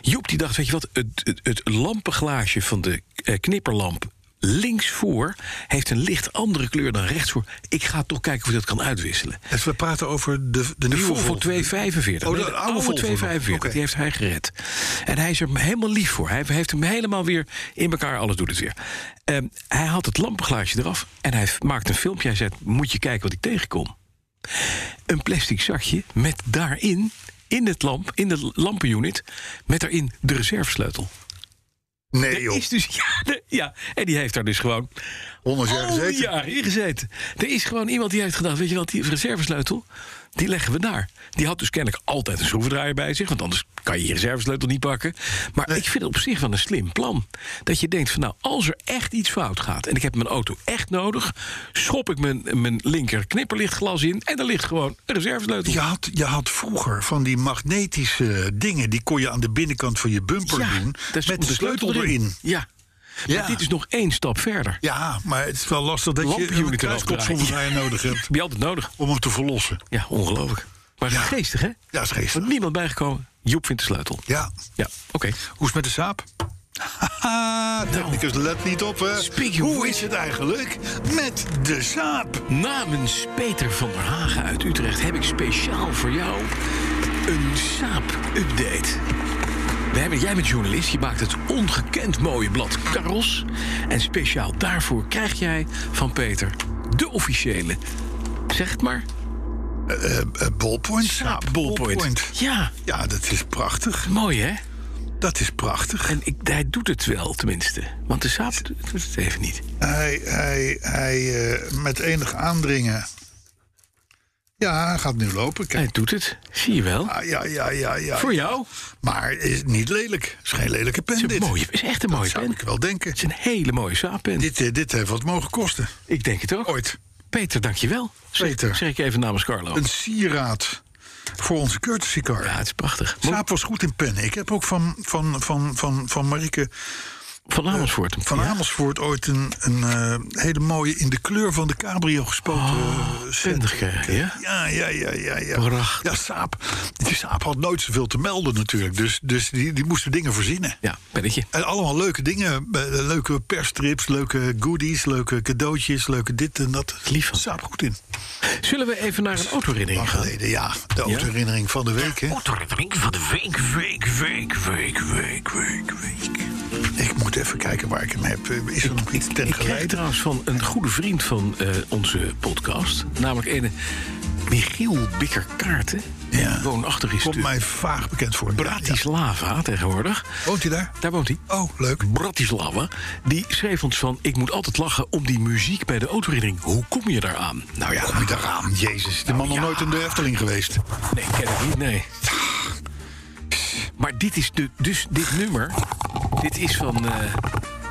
Joep die dacht, weet je wat? Het, het, het lampenglaasje van de eh, knipperlamp linksvoor... heeft een licht andere kleur dan rechtsvoor. Ik ga toch kijken of ik dat kan uitwisselen.
Dus we praten over de, de, nieuwe
Volvo 245.
Oh,
Nee,
de
de
oude
oude
Volvo nog.
245.
Oké.
Die heeft hij gered. En hij is er helemaal lief voor. Hij heeft hem helemaal weer in elkaar. Alles doet het weer. Ehm, hij haalt het lampenglaasje eraf. En hij maakt een filmpje. Hij zegt, moet je kijken wat ik tegenkom. Een plastic zakje met daarin, in het lamp, in de lampenunit... met daarin de reservesleutel.
Nee, joh.
Is dus, ja, de- ja, en die heeft daar dus gewoon
100 jaar
al die
gezeten.
jaren ingezeten. Er is gewoon iemand die heeft gedacht, weet je wat, die reservesleutel, die leggen we daar. Die had dus kennelijk altijd een schroevendraaier bij zich, want anders kan je je reservesleutel niet pakken. Maar ik vind het op zich wel een slim plan. Dat je denkt van nou, als er echt iets fout gaat en ik heb mijn auto echt nodig, schop ik mijn, mijn linker knipperlichtglas in en er ligt gewoon een reservesleutel.
Je had, je had vroeger van die magnetische dingen... die kon je aan de binnenkant van je bumper
Ja,
doen...
daar stond
met de sleutel erin.
Ja.
Ja.
Maar dit is nog één stap verder.
Ja, maar het is wel lastig dat je
Lampenunit
een
eraf
kruiskopschroevendraaier nodig hebt...
Heb je altijd nodig.
om hem te verlossen.
Ja, ongelooflijk. Maar
Ja.
geestig, hè?
Ja, is
Er wordt
geestig.
niemand bijgekomen. Joep vindt de sleutel.
Ja.
Ja, oké.
Hoe is het met de saap? Haha, technicus, let niet op, hè.
Speak your
Hoe
word.
is het eigenlijk met de saap?
Namens Peter van der Hagen uit Utrecht heb ik speciaal voor jou een saap-update. We hebben, jij bent journalist, je maakt het ongekend mooie blad Karos. En speciaal daarvoor krijg jij van Peter de officiële, zeg het maar,
Eh, Ballpoint saap.
saap-ballpoint. Ja,
Ja, dat is prachtig.
mooi hè?
Dat is prachtig.
En ik, hij doet het wel tenminste, want de saap doet doet het even niet.
Hij, hij, hij eh, met enig aandringen. Ja, hij gaat nu lopen. Kijk.
Hij doet het, zie je wel.
Ah, ja, ja, ja, ja.
Voor jou.
Maar is niet lelijk. Is geen lelijke pen
Het is,
dit.
een mooie, het is echt een mooie
Zou
pen.
ik wel denken.
Het is een hele mooie saappen.
Dit, eh, dit heeft wat mogen kosten.
Ik denk het ook.
Ooit.
Peter, dankjewel. Zeg,
Peter.
Zeg ik even namens Carlo.
Een sieraad voor onze courtesy car.
Ja, het is prachtig. Mo-
Saap was goed in pennen. Ik heb ook van, van, van, van, van Marike
Van Amersfoort.
van
Ja,
Amersfoort ooit een, een eh, hele mooie in de kleur van de cabrio gespoten eh, set.
cent gekregen, ja?
Ja, ja, ja, ja. ja.
Oh, Prachtig.
Ja, Saap. Die Saap had nooit zoveel te melden natuurlijk. Dus, dus die, die moesten dingen verzinnen.
Ja, pennetje.
En allemaal leuke dingen. eh, Leuke persstrips, leuke goodies, leuke cadeautjes, leuke dit en dat.
Lief van
Saap goed in.
Zullen we even naar een autoherinnering
Lang
gaan?
geleden, ja. De autoherinnering van de week, hè.
Autoherinnering van de week, week, week, week, week, week, week.
Ik moet even kijken waar ik hem heb. Is er nog iets ten
Ik kreeg
geleide?
trouwens van een goede vriend van eh, onze podcast. Namelijk ene Michiel Bikkerkaarten.
Ja.
Woonachtig is
Komt
de
mij vaag bekend voor. Ja.
Bratislava tegenwoordig.
Woont hij daar?
Daar woont hij.
Oh, leuk.
Bratislava, die schreef ons van... ik moet altijd lachen om die muziek bij de autoherinnering. Hoe kom je daar aan? Nou ja,
Kom je daar aan? Jezus, de man nog
ja.
nooit in de Efteling geweest.
nee, ken ik niet, nee. Ah. Maar dit is de, dus dit nummer... dit is van, eh,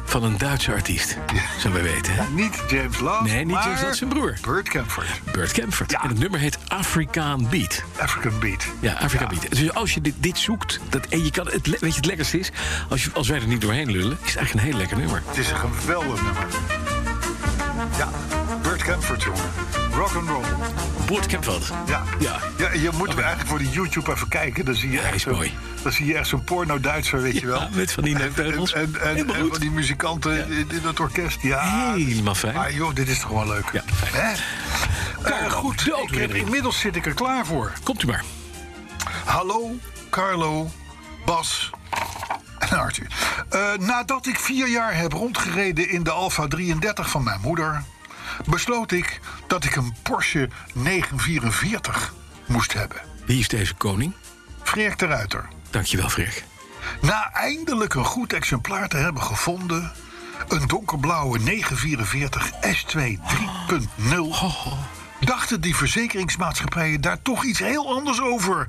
van een Duitse artiest, zo wij weten. hè?
Niet James Love,
Nee, niet James
maar
Love, zijn broer.
Burt Camford.
Bert Kempfert.
Ja.
En het nummer heet Afrikaan Beat.
African Beat.
Ja, Afrika Beat. Dus als je dit, dit zoekt... Dat, en je kan, het, le- weet je, het lekkerste is... Als, je, als wij er niet doorheen lullen, is het eigenlijk een heel lekker nummer.
Het is een geweldig nummer. Ja, Burt Camford, jongen. Rock and roll.
Bert Kempfert.
Ja.
Ja.
ja je moet hem eigenlijk voor de YouTube even kijken. Dan zie je
hij
echt
is
zo'n-
mooi.
Dan zie je echt zo'n porno-Duitser, weet je wel.
Ja, met van die neukbeugels.
En, en, en,
Helemaal
en
goed.
van die muzikanten in, in dat orkest. Ja,
Helemaal fijn.
Maar joh, dit is toch gewoon leuk.
Ja, fijn.
Hè?
Carlo,
Eh, goed,
de
ik heb,
autoherinnering.
inmiddels zit ik er klaar voor.
Komt u maar.
Hallo, Carlo, Bas en Arthur. Eh, nadat ik vier jaar heb rondgereden in de Alfa 33 van mijn moeder... besloot ik dat ik een Porsche 944 moest hebben.
Wie is deze koning?
Freek de Ruiter.
Dankjewel, Freek.
Na eindelijk een goed exemplaar te hebben gevonden... een donkerblauwe 944 S2 3.0... dachten die verzekeringsmaatschappijen daar toch iets heel anders over.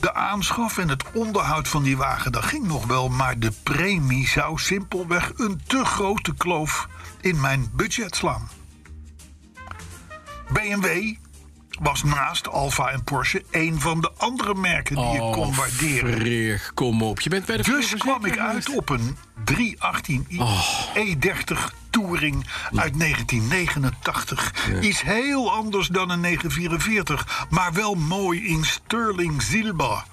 De aanschaf en het onderhoud van die wagen, dat ging nog wel... maar de premie zou simpelweg een te grote kloof in mijn budget slaan. BMW was naast Alfa en Porsche een van de andere merken die je kon waarderen.
Oh, Freek, kom op. Je bent bij de
Dus kwam ik
verzekering
uit op een 318i
Oh.
E30 E Touring uit 1989. Iets heel anders dan een 944, maar wel mooi in sterling zilver.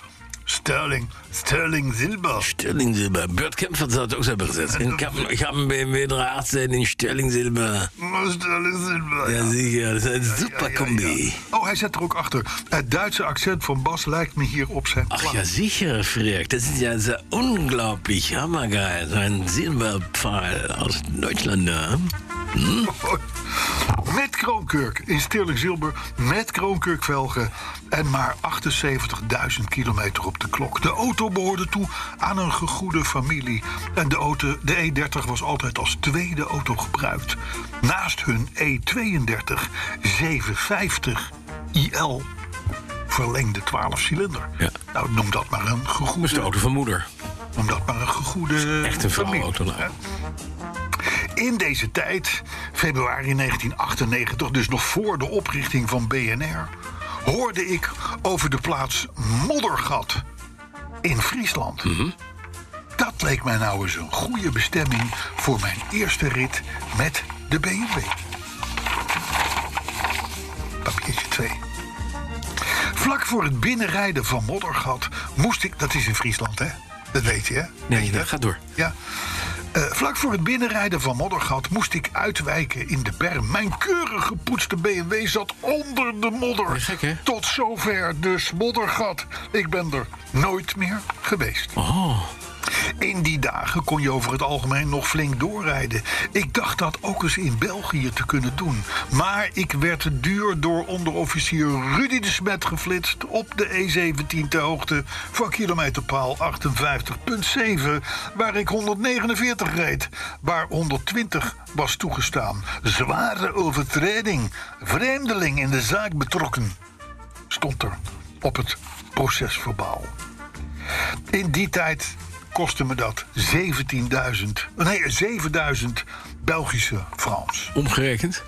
Sterling, sterling zilver.
Stellingsilber. Bert Kempfert had het ook hebben gezet. Ik heb, ik heb een BMW 318 in Stellingsilber.
Oh, Sterling zilver.
Ja, zeker. Dat is een super combi.
Oh, hij zet er ook achter. Het Duitse accent van Bas lijkt me hier op zijn
Ach
plaat.
ja, sicher, Freak. Das ist ja sehr unglaublich hammergeil. So ein Silberpfahl aus Deutschland. Ne?
Mooi. Met kroonkurk in sterling zilver. Met kroonkurkvelgen. En maar 78.000 kilometer op de klok. De auto behoorde toe aan een gegoede familie. En de, auto, de E30 was altijd als tweede auto gebruikt. Naast hun E E32 750 IL. Verlengde 12 cilinder.
Ja.
Nou, noem dat maar een
Dat is de
gegoede
auto van moeder.
noem dat maar een gegoede
Echt een
familie.
vrouwenauto. nou.
In deze tijd, februari 1998, dus nog voor de oprichting van BNR, hoorde ik over de plaats Moddergat in Friesland.
Mhm.
Dat leek mij nou eens een goede bestemming voor mijn eerste rit met de BMW. Papiertje 2. Vlak voor het binnenrijden van Moddergat moest ik. Dat is in Friesland, hè? Dat weet je, hè? Weet
Nee,
je
dat gaat door.
ja. Eh, vlak voor het binnenrijden van Moddergat moest ik uitwijken in de berm. Mijn keurig gepoetste BMW zat onder de modder.
Ja, gek, hè?
Tot zover dus Moddergat. Ik ben er nooit meer geweest.
Oh,
In die dagen kon je over het algemeen nog flink doorrijden. Ik dacht dat ook eens in België te kunnen doen. Maar ik werd te duur door onderofficier Rudy de Smet geflitst... op de E17 ter hoogte van kilometerpaal 58.7... waar ik 149 reed, waar 120 was toegestaan. Zware overtreding, vreemdeling in de zaak betrokken... stond er op het procesverbaal. In die tijd kostte me dat 17.000, nee, 7000 Belgische francs.
omgerekend?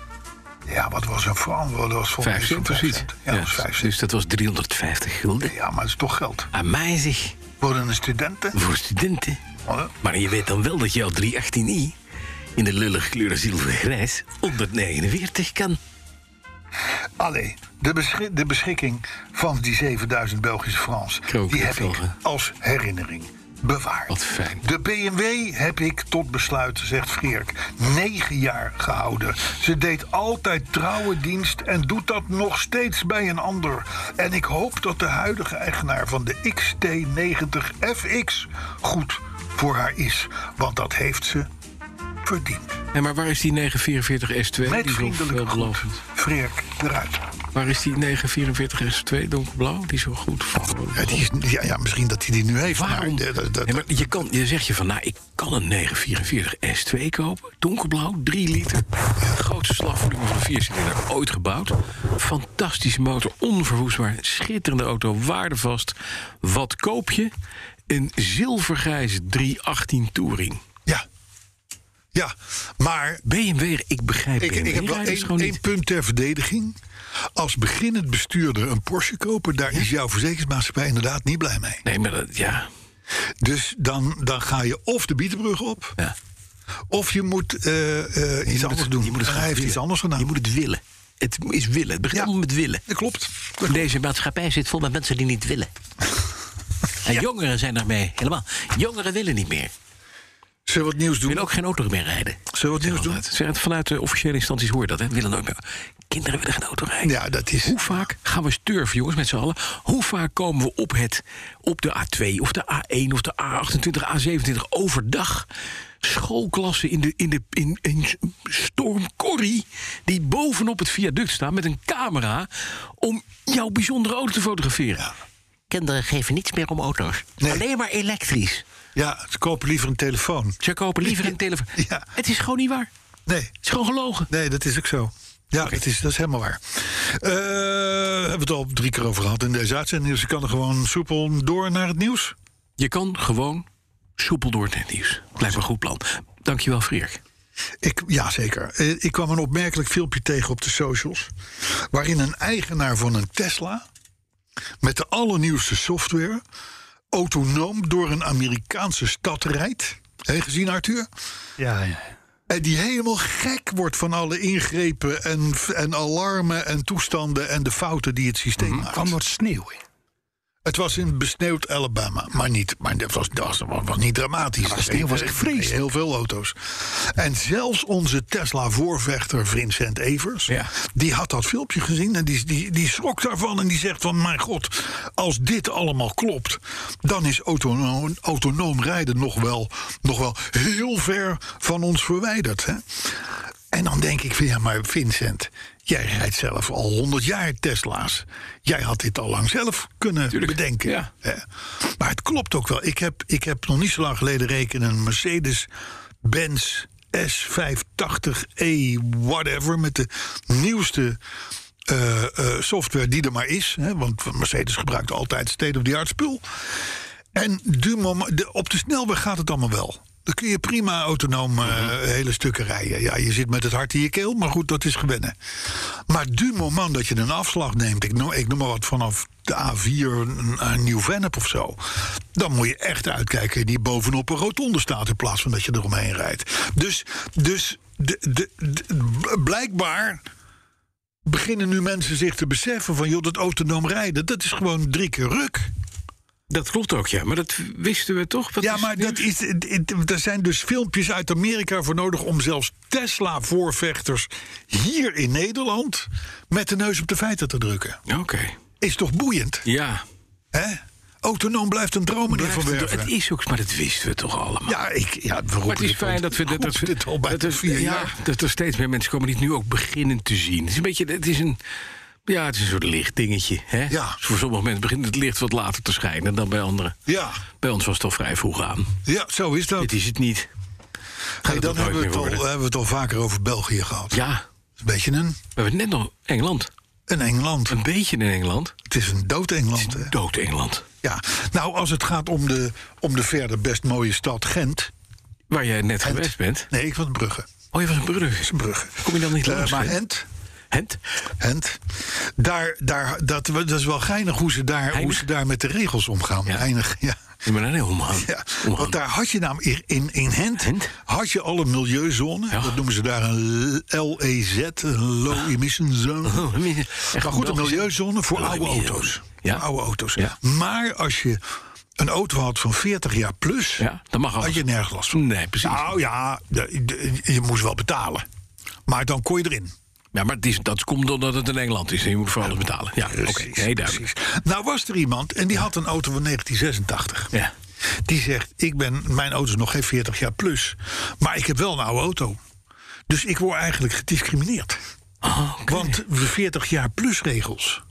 Ja, wat was een franc? Dat was voor
Vijf cent, precies.
Ja, dat was vijf cent.
dus dat was 350 gulden.
Ja, maar het is toch geld.
Amazig.
Voor een studenten.
Voor studenten. Maar je weet dan wel dat jouw 318i in de lullige kleuren zilvergrijs 149 kan.
Allee, de, beschik- de beschikking van die 7000 Belgische francs...
Kroon,
die heb ik
kroon.
als herinnering bewaard.
Wat fijn.
De BMW heb ik tot besluit, zegt Frierk, negen jaar gehouden. Ze deed altijd trouwe dienst en doet dat nog steeds bij een ander. En ik hoop dat de huidige eigenaar van de XT90FX goed voor haar is. Want dat heeft ze verdiend.
En maar waar is die 944 S2?
Met
die is zo
vriendelijke groet,
veelbelovend.
Frierk eruit.
Waar is die 944 S2 donkerblauw? Die is zo goed.
Ja, die is- ja, ja, misschien dat hij die nu heeft.
Waarom?
Maar, eh, dat- dat-
Nee, maar je, kan, je zegt je van, nou, ik kan een 944 S2 kopen. Donkerblauw, 3 liter. Het grootste slagvolume van een viercilinder ooit gebouwd. Fantastische motor, onverwoestbaar. Schitterende auto, waardevast. Wat koop je? Een zilvergrijze 318 Touring.
ja. ja, maar
BMW, ik begrijp
ik,
BMW
ik heb wel
rijders
één,
gewoon
één
niet.
punt ter verdediging. Als beginnend bestuurder een Porsche kopen... daar is jouw verzekeringsmaatschappij inderdaad niet blij mee.
Nee, maar dat, ja.
Dus dan, dan ga je of de Bietenbrug op...
ja.
of je moet eh, eh, iets
Je moet
anders
het-
doen.
Je moet het
En
graag
hij heeft
willen.
iets anders gedaan.
Je moet het willen. Het is willen. Het begint
Ja.
allemaal met willen.
Dat klopt.
Deze maatschappij zit vol met mensen die niet willen.
En jongeren zijn daarmee helemaal. Jongeren willen niet meer.
Zullen we wat nieuws doen?
Willen ook geen auto meer rijden.
Zullen we wat nieuws doen?
Altijd. Zeg het vanuit de officiële instanties hoor je dat, hè? Willen nooit meer. Kinderen willen geen auto rijden.
Ja, dat is...
Hoe vaak gaan we sturven, jongens, met z'n allen? Hoe vaak komen we op, het, op de A2 of de A1 of de A28, A27 overdag? Schoolklassen in, de, in, de, in, in stormcorrie die bovenop het viaduct staan met een camera om jouw bijzondere auto te fotograferen.
Kinderen geven niets meer om auto's.
Nee.
Alleen maar elektrisch.
Ja, ze kopen liever een telefoon.
Ze kopen liever een telefoon.
Ja.
Het is gewoon niet waar. Het
Nee,
is gewoon gelogen.
nee dat is ook zo. Ja, dat, is, dat is helemaal waar. Eh, hebben we het al drie keer over gehad in deze uitzending. Dus ik kan er gewoon soepel door naar het nieuws.
Je kan gewoon soepel door het nieuws. Lijkt me een goed plan. Dankjewel, Frierik.
Ik, ja, zeker. Eh, Ik kwam een opmerkelijk filmpje tegen op de socials... waarin een eigenaar van een Tesla... met de allernieuwste software... autonoom door een Amerikaanse stad rijdt. Heb je gezien, Arthur?
Ja, ja.
En die helemaal gek wordt van alle ingrepen... en, en alarmen en toestanden en de fouten die het systeem maakt.
Mhm. Kwam wat sneeuw in.
Het was in besneeuwd Alabama, maar niet. Maar dat was, dat was, was niet dramatisch. De sneeuw was echt vreselijk. Heel veel auto's. En zelfs onze Tesla-voorvechter Vincent Evers,
Ja.
die had dat filmpje gezien en die, die, die schrok daarvan en die zegt van mijn god, als dit allemaal klopt, dan is autonoom, autonoom rijden nog wel, nog wel heel ver van ons verwijderd. Hè? En dan denk ik van ja, maar Vincent, jij rijdt zelf al 100 jaar Tesla's. Jij had dit al lang zelf kunnen
Tuurlijk,
bedenken.
ja.
Hè? Maar het klopt ook wel. Ik heb, ik heb nog niet zo lang geleden rekenen een Mercedes-Benz S580e, whatever, met de nieuwste eh, eh, software die er maar is. Hè? Want Mercedes gebruikt altijd state-of-the-art spul. En du mom- de, op de snelweg gaat het allemaal wel. Dan kun je prima autonoom eh, hele stukken rijden. Ja, je zit met het hart in je keel, maar goed, dat is gewennen. Maar du moment dat je een afslag neemt, ik noem, ik noem maar wat vanaf de A4 naar Nieuw-Vennep of zo... dan moet je echt uitkijken die bovenop een rotonde staat... in plaats van dat je eromheen rijdt. Dus, dus de, de, de- blijkbaar beginnen nu mensen zich te beseffen van... joh, dat autonoom rijden, dat is gewoon drie keer ruk...
Dat klopt ook, ja. Maar dat wisten we toch? Wat
Ja,
is
maar
het nieuws?
dat is, het- het- er zijn dus filmpjes uit Amerika voor nodig om zelfs Tesla-voorvechters hier in Nederland met de neus op de feiten te drukken.
Oké.
Is toch boeiend,
Ja.
hè? Autonoom blijft een droom, meneer Van
Blijft het, het
Werven.
is ook, maar dat wisten we toch allemaal.
Ja, ik, ja, we roepen
Maar het is
dit al-
fijn dat we dat, dat,
roepen dit al
we-
bij
dat, er-
vier
ja,
jaar.
dat er steeds meer mensen komen die het nu ook beginnen te zien. Het is een beetje, het is een, ja, het is een soort lichtdingetje. Hè?
Ja.
Dus voor sommige mensen begint het licht wat later te schijnen dan bij anderen.
Ja,
Bij ons was het al vrij vroeg aan.
ja, zo is dat.
Dit is het niet.
Hey,
het ook
dan hebben we, het
nooit meer
al,
worden.
hebben we het al vaker over België gehad.
Ja,
Een beetje een,
we hebben net nog Engeland.
een Engeland.
Een beetje in Engeland.
Het is een dood Engeland. hè?
Dood Engeland.
Ja. Nou, als het gaat om de, om de verder best mooie stad Gent.
Waar jij net geweest bent.
Nee, ik van Brugge.
Oh, je was een brug.
Brugge.
Kom je dan niet
Eh,
langs?
maar
hè?
Hent,
Hent?
Hent. Daar, daar, dat, dat is wel geinig hoe ze daar, hoe
Heinig?
ze daar met de regels omgaan.
Ja.
Heinig, ja.
Ik ben daar heel omgaan.
Ja,
Omgaan.
want daar had je namelijk in, in Hent,
Hent?
had je al een milieuzone.
Ja. Ah.
Dat noemen ze daar een LEZ, een Low Emission Zone.
Oh, echt
maar goed, een
Belgisch.
milieuzone voor
Low
oude
emission.
auto's.
Ja.
Voor oude auto's.
Ja.
Maar als je een auto had van 40 jaar plus,
Ja, dan mag
had
alles.
je nergens last van.
Nee, precies.
Nou ja, de- de- je moest wel betalen. Maar dan kon je erin.
Ja, maar het is, dat komt doordat het in Engeland is en je moet voor alles betalen. Ja, oké. Nee, duidelijk.
precies. Nou was er iemand en die had een auto van 1986.
Ja.
Die zegt, ik ben, mijn auto is nog geen 40 jaar plus. Maar ik heb wel een oude auto. Dus ik word eigenlijk gediscrimineerd. Ah,
Oh, oké.
Want de 40 jaar plus regels...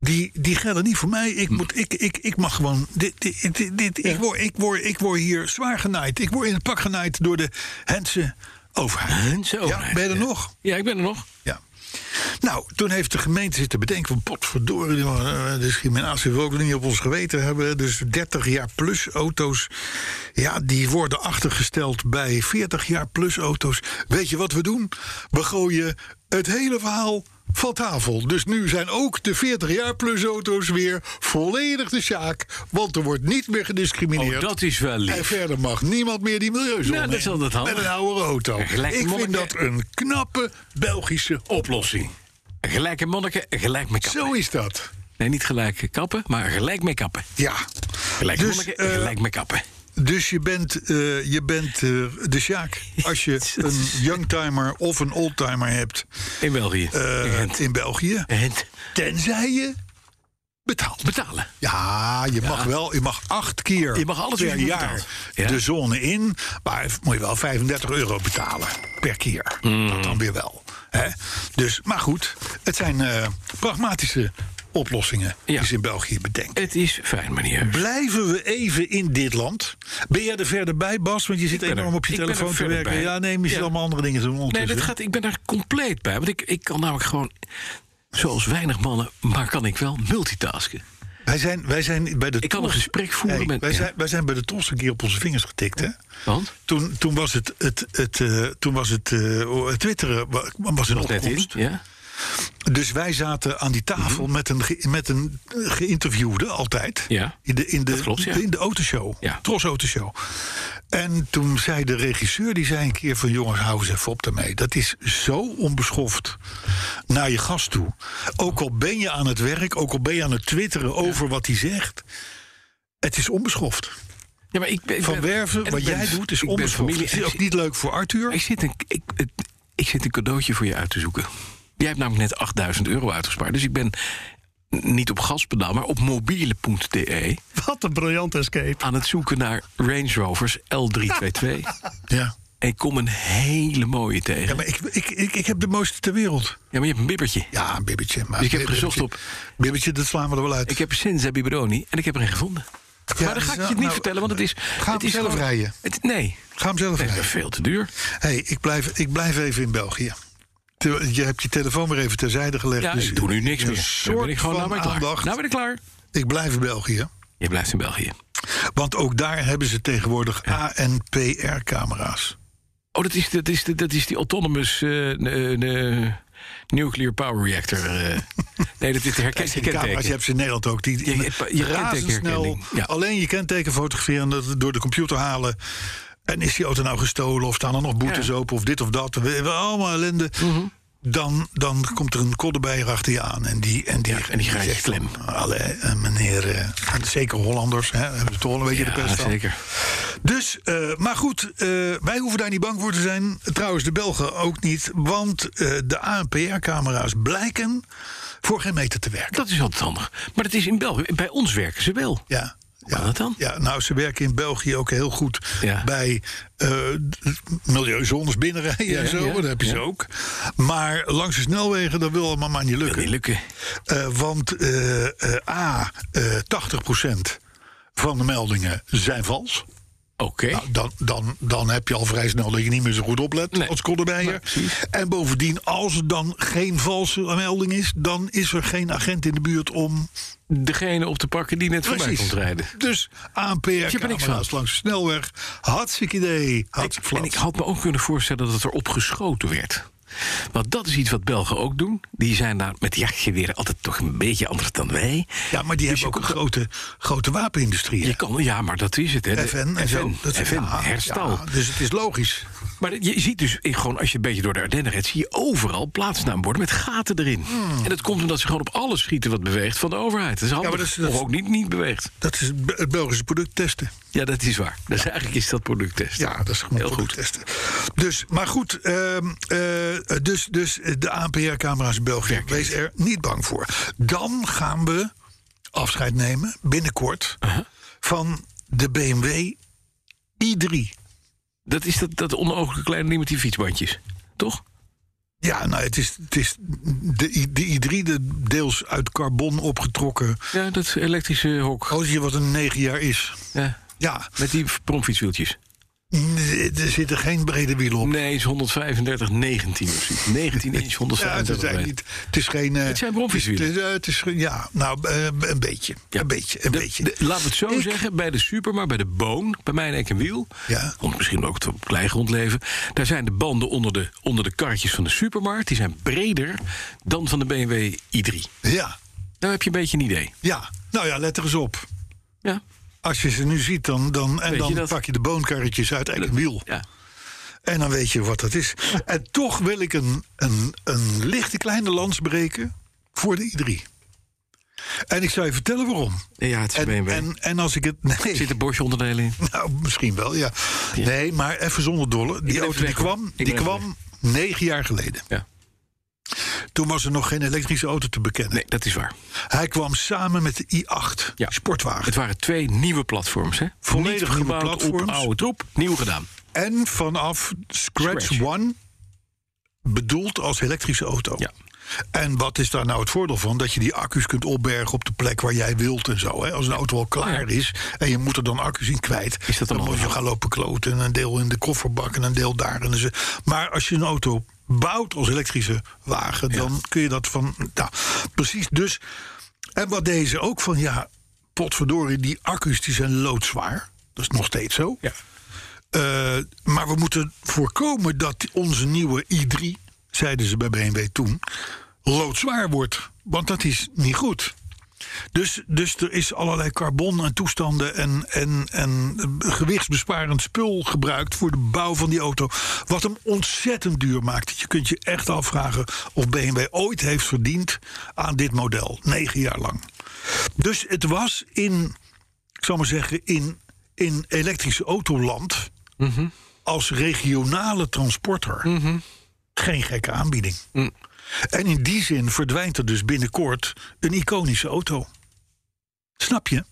Die, die gelden niet voor mij. Ik, moet, ik, ik, ik mag gewoon. Dit, dit, dit, dit- ik, word, ik, word, ik word hier zwaar genaaid. Ik word in het pak genaaid door de Hense overheid.
Hun zo.
Ja, ben je er nog?
Ja, ik ben er nog. Oh,
Ja. Nou, toen heeft de gemeente zitten bedenken van potverdorie, jongen, eh, discriminatie wil ook niet op ons geweten hebben. Dus 30 jaar plus auto's, ja, die worden achtergesteld bij 40 jaar plus auto's. Weet je wat we doen? We gooien het hele verhaal van tafel. Dus nu zijn ook de 40 jaar plus auto's weer volledig de zaak, want er wordt niet meer gediscrimineerd.
Oh, dat is wel
En
lief.
verder mag niemand meer die milieuzone
Nou, dat is altijd
in.
handig.
Met een oude auto.
Ja, gelijk
Ik vind
monniken.
dat een knappe Belgische oplossing.
Gelijke monniken, gelijk mee kappen.
Zo is dat.
Nee, niet gelijk kappen, maar gelijk mee kappen.
Ja.
Gelijk
Dus,
monniken,
eh,
gelijk mee kappen.
Dus je bent, eh, je bent eh, de Sjaak. Als je een youngtimer of een oldtimer hebt
In België.
eh,
In Gent.
in België.
In Gent.
Tenzij je betaalt.
Betalen.
Ja, je mag wel. Je mag acht keer
Je mag alles wat
per
je
jaar
betaalt. Ja.
de zone in. Maar moet je wel 35 euro betalen per keer.
Mm.
Dat dan weer wel. Hè? Dus, maar goed, het zijn eh, pragmatische oplossingen
Ja.
die ze in België bedenken.
Het is fijn, meneer.
Blijven we even in dit land? Ben jij er verder bij, Bas? Want je zit
ben er-
enorm op je
ik ben er
telefoon te
verder
werken.
bij.
Ja, nee, maar je zit
Ja.
allemaal andere dingen te doen
Nee,
ondertussen.
dat gaat, ik ben daar compleet bij. Want ik, ik kan namelijk gewoon, zoals weinig mannen, maar kan ik wel multitasken.
wij, zijn, wij zijn bij de
Ik kan een
TOS
gesprek voeren
Hey,
met-
wij,
ja.
zijn, wij zijn bij de TOS een keer op onze vingers getikt, hè?
Want?
Toen, toen was het, het, het, eh, toen was het eh, twitteren wa- was een
Net in,
opkomst.
ja? Mhm.
Dus wij zaten aan die tafel met een, ge- met een eh, geïnterviewde altijd.
Ja,
In de, in de,
dat klopt, ja.
in de autoshow.
Ja.
Tros Autoshow. En toen zei de regisseur, die zei een keer van... jongens, hou eens even op daarmee. Dat is zo onbeschoft naar je gast toe. Ook al ben je aan het werk, ook al ben je aan het twitteren over wat hij zegt... het is onbeschoft.
Ja, maar ik ben, ik
Van
ben- en
Werven,
ik
wat
ben-
jij doet, is
ik ben
onbeschoft.
familie-
Het is ook niet leuk voor Arthur.
Ik zit, een, ik, het- ik zit een cadeautje voor je uit te zoeken. Jij hebt namelijk net 8000 euro uitgespaard. Dus ik ben niet op gaspedaal, maar op mobiele.de
Wat een briljant escape.
aan het zoeken naar Range Rovers L322.
ja.
En ik kom een hele mooie tegen.
Ja, maar ik, ik, ik, ik heb de mooiste ter wereld.
je hebt een bibbertje.
Ja, een bibbertje. Maar
Dus ik heb gezocht
bibbertje- Bibbertje, dat slaan we er wel uit.
Ik heb een Senza Biberoni en ik heb er een gevonden.
Ja,
maar dan ga ik je
nou,
het niet
nou,
vertellen, want het is...
ga
het
hem
is
zelf rijden.
Het, nee,
Ga hem zelf
nee
rijden.
veel te duur.
hey, ik, blijf, ik blijf even in België. Terwijl- Je hebt je telefoon weer even terzijde gelegd.
Ja,
dus
ik doe nu niks
een
meer. Dan
soort
ben ik gewoon nou
van
ben ik klaar.
aandacht.
Nou ben ik klaar.
Ik blijf in België.
Je blijft in België.
Want ook daar hebben ze tegenwoordig ANPR-camera's.
Oh, dat is, dat is, dat is die autonomous eh, eh, eh, nuclear power reactor. eh. nee, dat is de herken, je
Die camera's, je
kenteken.
hebt ze in Nederland ook. Die,
Je- je- je
razendsnel
kentekenherkenning, ja.
alleen je kenteken fotograferen... en dat door de computer halen. En is die auto nou gestolen? Of staan er nog boetes
Ja. Mhm.
open? Of dit of dat? We hebben allemaal ellende. Dan, dan komt er een koddenbeier achter je aan. En die, en die,
Ja, en die gaat je
zegt van,
klem.
Alle, eh, meneer, eh, en zeker Hollanders, hè, hebben ze toch wel een beetje de
Ja,
pest van.
zeker.
Dus, eh, maar goed, eh, wij hoeven daar niet bang voor te zijn. Trouwens, de Belgen ook niet. Want eh, de ANPR-camera's blijken voor geen meter te werken.
Dat is altijd handig. Maar het is in België. Bij ons werken ze wel.
Ja.
kan
ja.
dat dan?
Ja, nou, ze werken in België ook heel goed
Ja.
bij eh, d- milieuzones binnenrijden
Ja,
en zo.
ja,
dat heb je ze
ja.
ook. Maar langs de snelwegen, dat wil allemaal maar niet lukken.
Niet lukken.
Eh, want eh, eh, A, eh 80% van de meldingen zijn vals.
Oké.
Nou, dan, dan, dan heb je al vrij snel dat je niet meer zo goed oplet
Nee.
als Kodderbeyer. en bovendien, als er dan geen valse melding is... dan is er geen agent in de buurt om...
Degene op te pakken die net voorbij komt rijden.
Dus
Hier ben ik
ANPR-camera's
van.
langs de snelweg. Hartstikke idee. Hartstikke
En ik
flats.
had me ook kunnen voorstellen dat er op geschoten werd. Want dat is iets wat Belgen ook doen. Die zijn daar met jachtgeweren altijd toch een beetje anders dan wij.
Ja, maar die
Dus je
hebben ook
komt
een grote, grote wapenindustrie.
Je eh,
hè?
kan, ja, maar dat is het. Hè. De-
FN en zo. Dat
FN,
ja,
herstal.
ja, dus het is logisch.
Maar je ziet dus, eh, gewoon als je een beetje door de Ardennen redt... zie je overal plaatsnaamborden met gaten erin. En dat komt omdat ze gewoon op alles schieten wat beweegt van de overheid. Dat is handig.
Hmm. maar dat is- dat is-
Of ook niet, niet beweegt.
Dat is het Be- het Belgische product testen.
Ja, dat is waar. Dus eigenlijk is dat producttest.
Ja, dat is gewoon
Heel
goed. testen. Dus, maar goed, ehm, eh, dus, dus de ANPR-camera's in België, wees er niet bang voor. Dan gaan we afscheid nemen, binnenkort,
Uh-huh.
van de BMW i3.
Dat is dat, dat onooglijke kleine ding met die fietsbandjes. Toch?
Ja, nou, het is, het is de, I- de i3, de deels uit carbon opgetrokken.
Ja, dat elektrische hok.
Gozer, wat een negen jaar is.
Ja,
Ja,
met die promfietswieltjes.
n- er zitten geen brede wielen op.
Nee, is 135, 19 of zoiets. 19 inch,
Ja, het,
135.
is eigenlijk niet, het is geen... eh,
Het zijn
Het
bromfietswielen.
is, eh, het is, geen- ja, nou, eh, een beetje.
Ja.
Een beetje, een
De-
beetje.
de- laat het zo
Ik-
zeggen, bij de super, maar bij de boon, bij mijn nek en wiel...
Ja.
want misschien ook het op kleigrond leven... daar zijn de banden onder de, onder de karretjes van de supermarkt... die zijn breder dan van de BMW i3.
Ja,
Daar Nou, heb je een beetje een idee.
ja. Nou ja, let er eens op.
Ja,
Als je ze nu ziet, dan, dan, en
Weet
dan
je dat?
pak je de boonkarretjes uit eigen wiel.
ja.
En dan weet je wat dat is. En toch wil ik een, een, een lichte kleine lans breken voor de i3. En ik zou je vertellen waarom.
ja het is een
En,
BMW.
en, en als ik het... Nee,
Zit er Bosch-onderdelen in?
Nou, misschien wel, ja. Nee, maar even zonder dolle. Die
even
auto die
weg, hoor.
kwam,
Ik ben
die
even
kwam negen jaar geleden.
Ja.
Toen was er nog geen elektrische auto te bekennen.
Nee, dat is waar.
Hij kwam samen met de i8,
Ja.
sportwagen.
Het waren twee nieuwe platforms, hè?
Volledig
Niet
nieuwe
gebouwd
platforms.
op oude troep, nieuw gedaan.
En vanaf Scratch,
Scratch.
One bedoeld als elektrische auto.
Ja.
En wat is daar nou het voordeel van? Dat je die accu's kunt opbergen op de plek waar jij wilt en zo. Hè? Als een auto al klaar is en je moet er dan accu's in kwijt...
Is dat dan
moet je
handig?
gaan lopen kloten en een deel in de kofferbak en een deel daar. En zo. Maar als je een auto bouwt als elektrische wagen... dan kun je dat van... Nou, precies dus... En wat deze ook van, ja, potverdorie, die accu's die zijn loodzwaar. Dat is nog steeds zo.
Ja.
Eh, maar we moeten voorkomen dat onze nieuwe i3, zeiden ze bij BMW toen, loodzwaar wordt. Want dat is niet goed. Dus, dus er is allerlei carbon en toestanden en, en, en gewichtsbesparend spul gebruikt voor de bouw van die auto. Wat hem ontzettend duur maakt. Je kunt je echt afvragen of BMW ooit heeft verdiend aan dit model. Negen jaar lang. Dus het was in, ik zal maar zeggen, in, in elektrische autoland. als regionale transporter.
Mhm.
geen gekke aanbieding.
Mm.
En in die zin verdwijnt er dus binnenkort een iconische auto. Snap je?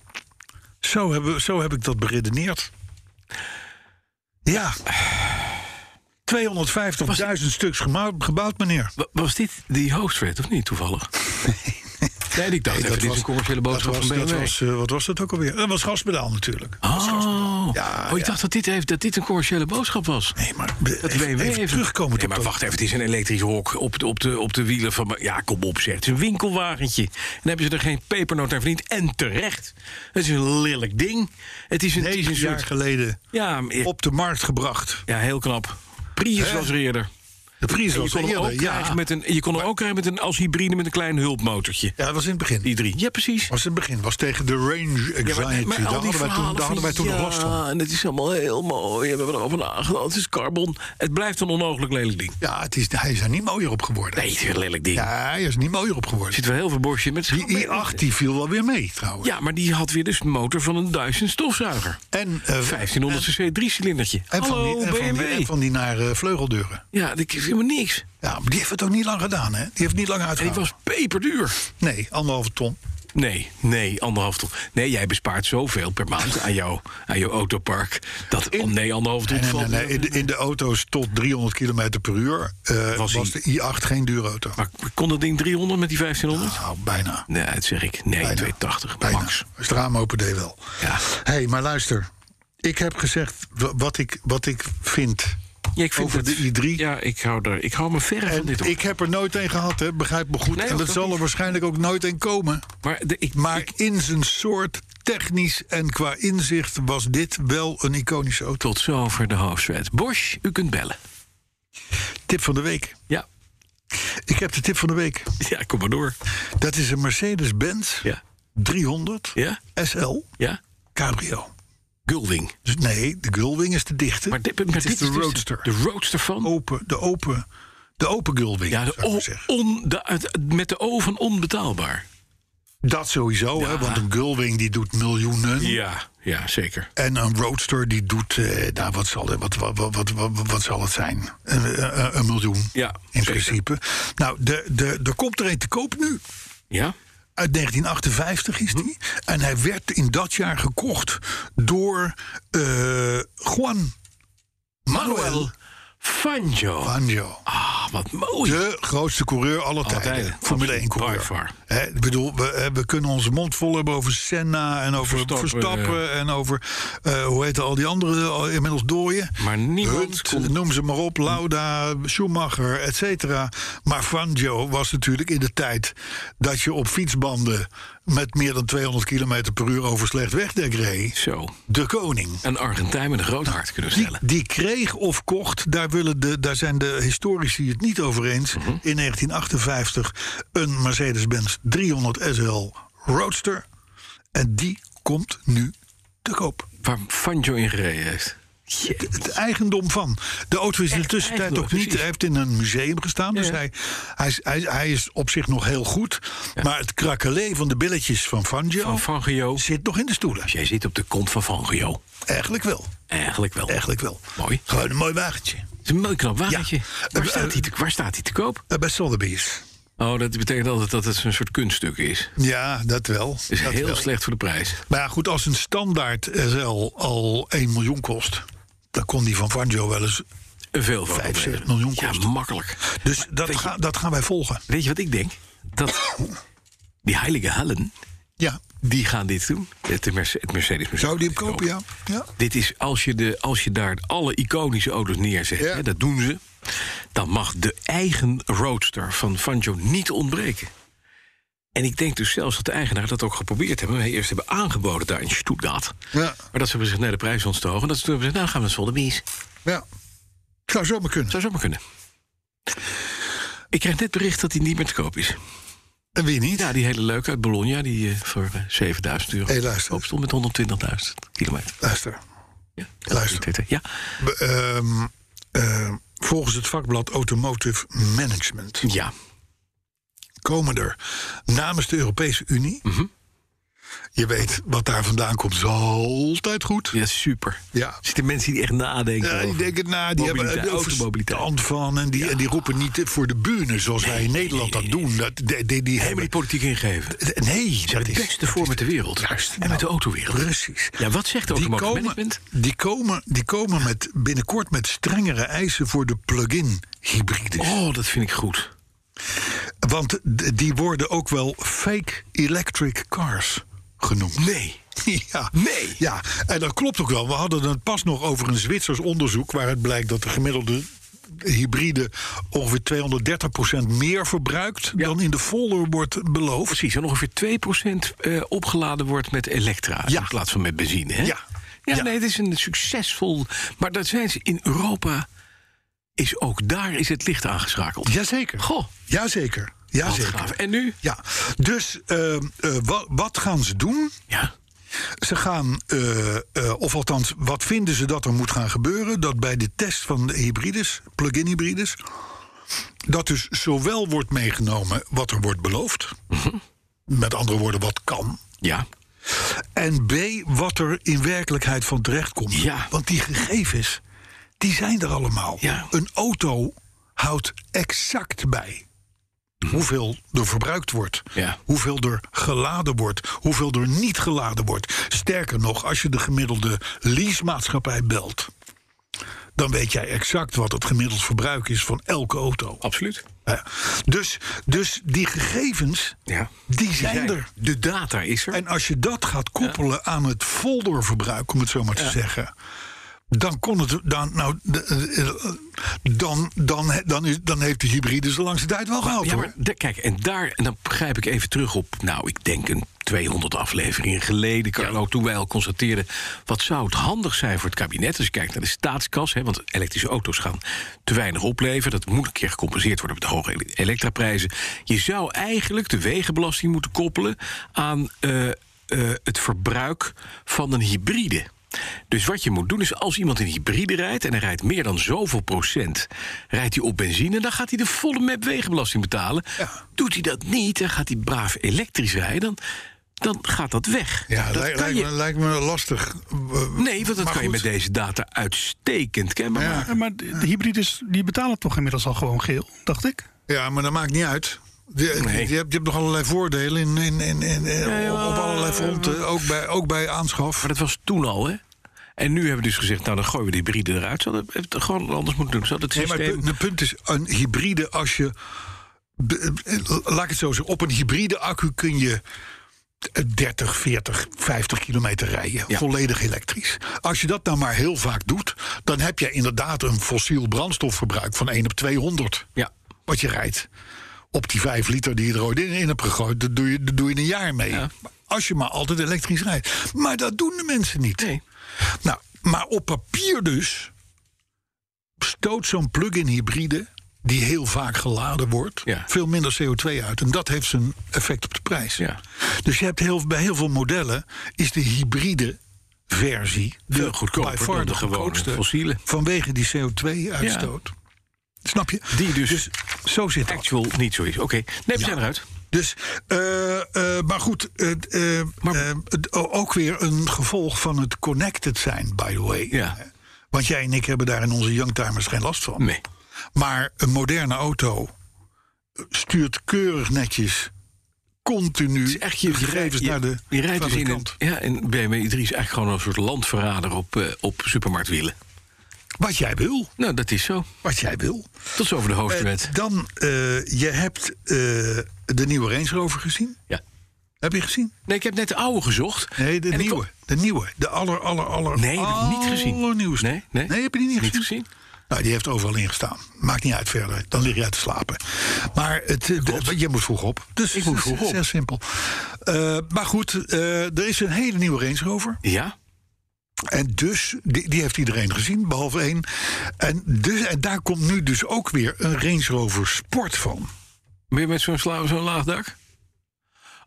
Zo, hebben, zo heb ik dat beredeneerd. Ja. 250.000 stuks gemou- gebouwd, meneer.
Wa- Was dit die hoofdwet of niet toevallig? Nee, ik dacht
Nee,
even, dit is een commerciële boodschap
dat was,
van
dat
BMW.
was, eh, Wat was dat ook alweer? Dat was gaspedaal natuurlijk.
oh,
Ja,
oh, ik
ja.
dacht dat dit, even, dat dit een commerciële boodschap was.
Nee, maar de-
Dat
even,
BMW
even
heeft-
terugkomen
Nee,
tot
maar
dat-
wacht even, het is een elektrisch hok op de, op, de, op de wielen van... Ja, kom op zeg, het is een winkelwagentje. En hebben ze er geen pepernoot aan verdiend. En terecht. Het is een lelijk ding. Het is een, het is
negen
een
jaar
soort...
geleden
Ja, ja,
op de markt gebracht.
ja, heel knap. Prius
Hè?
was er eerder.
De prijs
En je
was
kon hem ook
eerder, ja.
krijgen met een, je kon hem ook krijgen met een, als hybride met een klein hulpmotortje.
Ja, dat was in het begin.
Die drie. Ja, precies.
was in het begin. was tegen de range anxiety. daar hadden wij toen, daar hadden wij toen nog last van.
Ja, en het is allemaal heel mooi. En we hebben erover nagedacht. Het is carbon. Het blijft een onmogelijk lelijk ding.
Ja, het is, hij is daar niet mooier op geworden.
Nee, het is een lelijk ding.
Ja,
Er
hij is niet mooier op geworden.
zit wel heel veel borstje met schaam
Die
bij.
i8 die viel wel weer mee, trouwens.
Ja, maar die had weer dus een motor van een Dyson stofzuiger.
En, eh,
1500 cc drie-cilindertje.
en van,
Hallo,
die, en, van die, en
BMW.
van die naar eh, vleugeldeuren.
Ja, dat is helemaal niks. En
Ja, maar die heeft het ook niet lang gedaan, hè? Die heeft het niet lang
die
uitgehouden.
was peperduur.
Nee, anderhalve ton.
Nee, nee, anderhalf ton. Nee, jij bespaart zoveel per maand aan jouw, aan jouw autopark. Dat, oh nee, anderhalf ton
Nee, nee,
valt
nee, nee. In, de, in de auto's tot 300 km per uur eh,
Was
was,
hij-
de i8 geen dure auto.
Maar kon dat ding 300 met die 1500?
Nou, bijna.
Nee, dat zeg ik. Nee,
bijna.
280
Bijna.
max.
Als het raam open deed wel.
Ja.
Hé, hey, maar luister. Ik heb gezegd wa- wat ik, wat ik vind.
Ja, ik vind
Over
dat-
de i3.
Ja, ik hou, er, ik hou me verre van
En
dit. hoor.
ik heb er nooit een gehad, hè? begrijp me goed.
Nee,
en
dat
dat
ook
zal
niet.
er waarschijnlijk ook nooit een komen.
maar de, ik,
Maar
ik-
in zijn soort, technisch en qua inzicht, was dit wel een iconische auto.
tot zover de hoofdwet. Bosch, u kunt bellen.
Tip van de week.
Ja.
Ik heb de tip van de week.
Ja, kom maar door.
Dat is een Mercedes-Benz
Ja.
300
Ja?
SL
Ja?
Cabrio.
Gulding.
Dus nee, de Gullwing is de dichte.
Maar dit, maar
het
dit
is de
dus
Roadster.
De roadster van?
open, de open, de open Gullwing,
ja, de
zou ik
o-
maar zeggen.
on, de, het- met de O van onbetaalbaar.
Dat sowieso, hè, want een Gullwing die doet miljoenen.
Ja, ja zeker.
En een Roadster die doet, eh, nou, wat, zal, wat, wat, wat, wat, wat, wat zal het zijn? Een, eh, een- een miljoen
Ja,
in
zeker.
principe. Nou, de, de, er komt er een te koop nu.
Ja?
Uit 1958 is
Mhm.
die. En hij werd in dat jaar gekocht door eh, Juan Manuel
Fangio.
Fangio.
Ah, wat mooi.
De grootste coureur aller
Alle
tijden.
tijden.
Formule 1
Absoluut. By
coureur.
far.
Hè, Ik bedoel, we, eh, we kunnen onze mond vol hebben over Senna en over
Verstappen,
Verstappen, en over, eh, hoe heet al die andere al inmiddels dooien.
Maar niemand
Hunt,
kon-
noem ze maar op, Lauda, Schumacher, et cetera. Maar Fangio was natuurlijk in de tijd dat je op fietsbanden met meer dan 200 km per uur over slecht wegdek reed.
Zo.
De koning.
Een Argentijn met een groot hart kunnen we stellen.
Nou, Die kreeg of kocht, daar, willen de, daar zijn de historici het niet over eens.
Mhm.
In 1958 een Mercedes-Benz 300 SL Roadster. En die komt nu te koop.
Waar Fangio in gereden heeft. Jee.
Het eigendom van. De auto is in de tussentijd
eigendom,
ook niet.
precies.
Hij heeft in een museum gestaan. Dus
Ja.
hij, hij, is- hij, hij is op zich nog heel goed. Maar het krakelee van de billetjes van Fangio
Van Fangio.
zit nog in de stoelen.
Jij zit op de kont van Fangio.
Eigenlijk wel.
Eigenlijk wel.
Eigenlijk wel.
Mooi.
Gewoon een mooi wagentje.
Het is een mooi knap wagentje.
Ja.
Waar,
Eh,
staat die te, waar staat die te koop?
Eh, Bij Sotheby's.
Oh, dat betekent altijd dat het een soort kunststuk is.
Ja, dat wel.
Het is
dat
heel
wel.
slecht voor de prijs.
Maar ja, goed, als een standaard SL al 1 miljoen kost... dan kon die van Vanjo wel eens...
Een veel van
Vijf, zes
opleveren.
miljoen
Ja,
kost.
makkelijk.
Dus dat, ga- dat gaan wij volgen.
Weet je wat ik denk? Dat die heilige Hellen,
Ja,
die gaan dit doen. Het Merce- het Mercedes Museum.
zou die hem kopen, ja. ja.
Dit is als je, de, als je daar alle iconische auto's neerzet,
Ja.
hè, dat doen ze. Dan mag de eigen roadster van Fangio niet ontbreken. En ik denk dus zelfs dat de eigenaar dat ook geprobeerd hebben. Wij eerst hebben aangeboden daar in Stuttgart.
Ja,
Maar dat ze hebben gezegd, nee, de prijs is ons te hoog. En dat ze toen hebben gezegd, nou gaan we naar Sotheby's.
ja. Zou zomaar kunnen.
Zou zomaar kunnen. Ik krijg net bericht dat hij niet meer te koop is.
En wie niet?
Ja, die hele leuke uit Bologna, die eh, voor eh, 7000 euro
Hé, luister.
te koop stond met 120.000 kilometer.
Luister.
Ja,
Luister.
Ja,
We, ehm, ehm, volgens het vakblad Automotive Management...
ja. Mhm.
komen er namens de Europese Unie Je weet wat daar vandaan komt, is altijd goed.
Ja, super.
Ja.
Er zitten mensen die echt nadenken.
Ja, die
over
denken na, die hebben er
mobiliteit,
ook
automobiliteit.
verstand van. En die, en die roepen niet voor de buren zoals wij in Nederland dat doen. Dat, die, die, die
Helemaal
hebben,
die politiek ingeven.
nee, dat
Het
is
beste voor met de wereld.
Juist,
en
nou,
met de autowereld.
Precies.
Ja, wat zegt de
Die
automotive
komen,
management?
die komen, die komen met, binnenkort met strengere eisen voor de plug-in hybrides.
Oh, dat vind ik goed.
Want d- die worden ook wel fake electric cars genoemd. Nee. Ja.
Nee.
Ja, en dat klopt ook wel. We hadden het pas nog over een Zwitsers onderzoek... waaruit blijkt dat de gemiddelde hybride ongeveer 230% meer verbruikt... dan in de folder wordt beloofd.
Precies, en ongeveer 2% eh, opgeladen wordt met elektra
Ja.
in plaats van met benzine. Hè?
Ja.
Ja,
Ja.
nee, het is een succesvol. Maar dat zijn ze in Europa. Is ook daar is het licht aangeschakeld.
Jazeker.
Goh,
Jazeker.
wat
Jazeker.
gaaf. En nu?
Ja, dus eh, eh, wa- wat gaan ze doen?
Ja.
Ze gaan, eh, eh, of althans, wat vinden ze dat er moet gaan gebeuren? Dat bij de test van de hybrides, plug-in hybrides, dat dus zowel wordt meegenomen wat er wordt beloofd, met andere woorden wat kan,
Ja.
en B wat er in werkelijkheid van terecht komt.
Ja.
Want die gegevens, die zijn er allemaal.
Ja.
Een auto houdt exact bij. Hoeveel er verbruikt wordt,
Ja.
hoeveel er geladen wordt, hoeveel er niet geladen wordt. Sterker nog, als je de gemiddelde leasemaatschappij belt, dan weet jij exact wat het gemiddeld verbruik is van elke auto.
Absoluut.
Ja. Dus, dus die gegevens,
Ja.
die zijn er.
De data is er.
En als je dat gaat koppelen aan het folderverbruik, om het zo maar te zeggen. Dan kon het. Dan, nou, de- eh, dan, dan, dan, is, dan heeft de hybride ze langs de tijd wel gehaald.
ja,
hoor.
maar da- kijk, en daar, en dan grijp ik even terug op, nou, ik denk een 200 afleveringen geleden, Carlo, toen wij al constateerden, wat zou het handig zijn voor het kabinet, als je kijkt naar de staatskas, hè, want elektrische auto's gaan te weinig opleveren, dat moet een keer gecompenseerd worden met de hoge ele- elektraprijzen. Je zou eigenlijk de wegenbelasting moeten koppelen aan eh, eh, het verbruik van een hybride. Dus wat je moet doen is, als iemand in hybride rijdt... en hij rijdt meer dan zoveel procent, rijdt hij op benzine... dan gaat hij de volle map wegenbelasting betalen. Doet hij dat niet, dan gaat hij braaf elektrisch rijden... dan, dan gaat dat weg.
Ja,
dat
lijkt,
kan
lijkt
je-
me, lijkt me lastig.
Nee, want dat
Maar
kan je met
goed.
deze data uitstekend kenbaar maken.
Ja, maar de, de hybrides die betalen toch inmiddels al gewoon geel, dacht ik.
Ja, maar dat maakt niet uit. Je, je-
Nee.
je hebt, je hebt nog allerlei voordelen in, in, in, in- in- op, op allerlei fronten. Ook bij, ook bij aanschaf.
Maar dat was toen al, hè? En nu hebben we dus gezegd, nou, dan gooien we de hybride eruit. Ze hadden het gewoon anders moeten doen. Ze hadden het
Nee, maar het
systeem...
punt, het punt is, een hybride als je... be- eh, Laat ik het zo zeggen, op een hybride accu kun je eh, 30, 40, 50 kilometer rijden.
Ja.
Volledig elektrisch. Als je dat nou maar heel vaak doet... dan heb je inderdaad een fossiel brandstofverbruik van 1 op 200.
Ja,
wat je rijdt. Op die 5 liter die je er ooit in, in hebt gegooid, dat doe, je, dat doe je een jaar mee. Als je maar altijd elektrisch rijdt. Maar dat doen de mensen niet.
nee.
Nou, maar op papier dus stoot zo'n plug-in hybride, die heel vaak geladen wordt,
Ja.
veel minder CO2 uit. En dat heeft zijn effect op de prijs.
Ja.
Dus je hebt heel, bij heel veel modellen is de hybride versie
Veel
de
goedkoper
by far
dan
de
de gewone
goedkoopste
fossiele.
vanwege die CO2-uitstoot. Snap je?
Die dus,
Zo zit dat.
actual niet zo is. Oké, nee, we zijn eruit.
Dus, eh, eh, maar goed, eh, eh,
Maar-
eh, het- o- ook weer een gevolg van het connected zijn, by the way.
Ja.
Want jij en ik hebben daar in onze youngtimers geen last van.
Nee.
Maar een moderne auto stuurt keurig netjes continu
Het is echt je, je
gegevens
rijdt-
naar de
je rijdt dus in een,
fabrikant.
ja, en BMW i3 is eigenlijk gewoon een soort landverrader op, eh, op supermarktwielen.
Wat jij wil,
Nou, dat is zo.
wat jij wil.
Tot zover de hoofdwet.
Eh, dan, eh, je hebt eh, de nieuwe Range Rover gezien.
ja.
Heb je gezien?
Nee, ik heb net de oude gezocht.
Nee, de
En ik
nieuwe. De nieuwe. De aller, aller, aller.
Nee, dat heb ik niet gezien.
Allernieuwste.
Nee, nee.
heb je die niet,
Niet
gezien?
gezien.
Nou, die heeft overal ingestaan. Maakt niet uit verder. Dan lig je uit te slapen. Maar het, eh, de- je moet vroeg op. Dus
Ik moet vroeg
het is
op.
Heel simpel. Eh, maar goed, eh, er is een hele nieuwe Range Rover.
kom- Ja?
En dus, die, die heeft iedereen gezien, behalve één. En, dus, en daar komt nu dus ook weer een Range Rover Sport van.
Weer met zo'n sla- zo'n laag dak?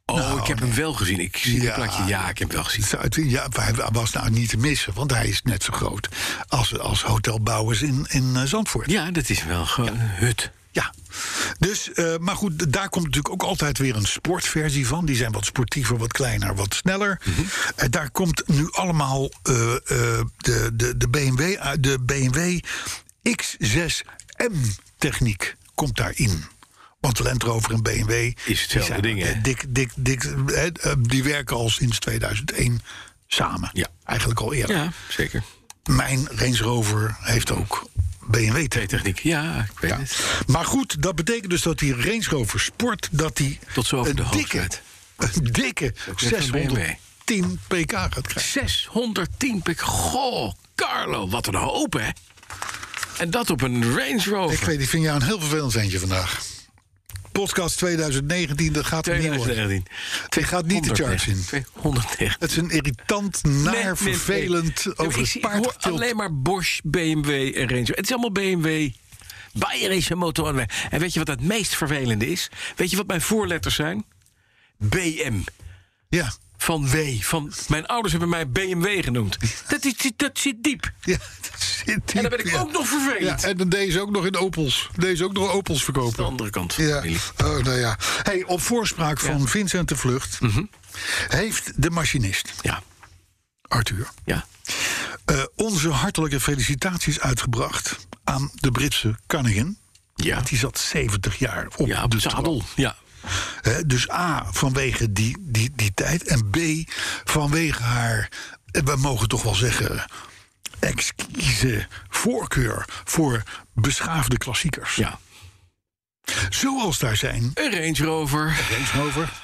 Oh, ik heb hem wel gezien. Ik zie
Nou, Ja.
het plaatje. Ja, ik heb hem wel gezien.
Zuid- Ja, hij was nou niet te missen, want hij is net zo groot als, als hotelbouwers in, in eh, Zandvoort.
Ja, dat is wel gewoon een hut.
Ja, Dus, eh, maar goed, daar komt natuurlijk ook altijd weer een sportversie van. Die zijn wat sportiever, wat kleiner, wat sneller.
Mhm.
Eh, daar komt nu allemaal eh, eh, de, de, de BMW, uit- de BMW X6M techniek komt daarin. Want Land Rover en BMW die
hetzelfde
zijn,
ding, hè?
eh, Dik, dik, dik, eh, eh, die werken al sinds 2001 samen.
Ja.
Eigenlijk al eerder.
Ja, zeker.
Mijn Range Rover heeft ook BMW techniek.
Techniek. Ja, ik weet het.
Maar goed, dat betekent dus dat die Range Rover Sport... dat die
Tot zover
een
de
dikke,
hoogtijd.
een dikke
net een BMW.
610 pk gaat krijgen.
610 pk. Goh, Carlo, wat een hoop, hè? En dat op een Range
Ik
Rover.
weet, ik vind jou een heel vervelend eentje vandaag. Podcast 2019, dat gaat hem niet worden.
2019.
Die gaat niet de charge in.
290.
Het is een irritant, naar,
Nee, nee,
vervelend,
nee.
over
ik,
het
zie-
paard
ik hoor
getild.
alleen maar Bosch, BMW en Range Rover. Het is allemaal BMW. Bayerische motor. En weet je wat het meest vervelende is? Weet je wat mijn voorletters zijn? BM.
Ja,
Van W. Van, mijn ouders hebben mij BMW genoemd. Dat, is, dat zit diep.
ja, dat zit
En dan
hier,
ben ik
ja.
ook nog
Ja,
vervelend.
en dan deze ook nog in Opels. Deze ook nog Opels
de
verkopen.
andere kant van de
Ja,
familie.
oh, nou ja. Hey, op voorspraak van Vincent de Vlucht...
Mhm.
heeft de machinist,
Ja,
Arthur...
ja.
eh, onze hartelijke felicitaties uitgebracht... aan de Britse Cunningham.
Ja,
Die zat 70 jaar op
ja op
de
het zadel.
troon.
Ja.
Hè, dus A, vanwege die, die, die tijd. En B, vanwege haar, eh, we mogen toch wel zeggen... exquise voorkeur voor beschaafde klassiekers.
ja.
Zoals daar zijn
Een Range Rover
Range Rover.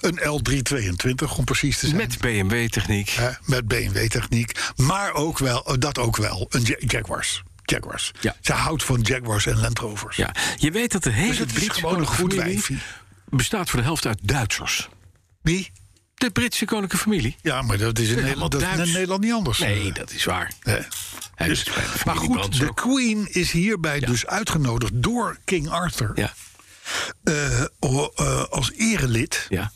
Een L322 om precies te zijn.
met BMW-techniek.
Hè, met BMW-techniek. Maar ook wel, eh, dat ook wel, een Ja- Jaguars. Jaguars.
Ja.
Ze houdt van Jaguars en Land Rovers.
Ja. Je weet dat de hele
Dus het is
Britse
gewoon een goed
koninklijke
wijfie.
familie bestaat voor de helft uit Duitsers.
Wie?
De Britse koninklijke familie.
Ja, maar dat is in,
helemaal
Nederland, dat is in
Duits.
Nederland niet anders.
Nee, dat is waar.
Hè.
Hij
Dus-
is bij de
maar
familie
goed,
Brands
de
ook.
Queen is hierbij dus uitgenodigd door King Arthur...
Ja,
eh, o- eh, als erelid
ja.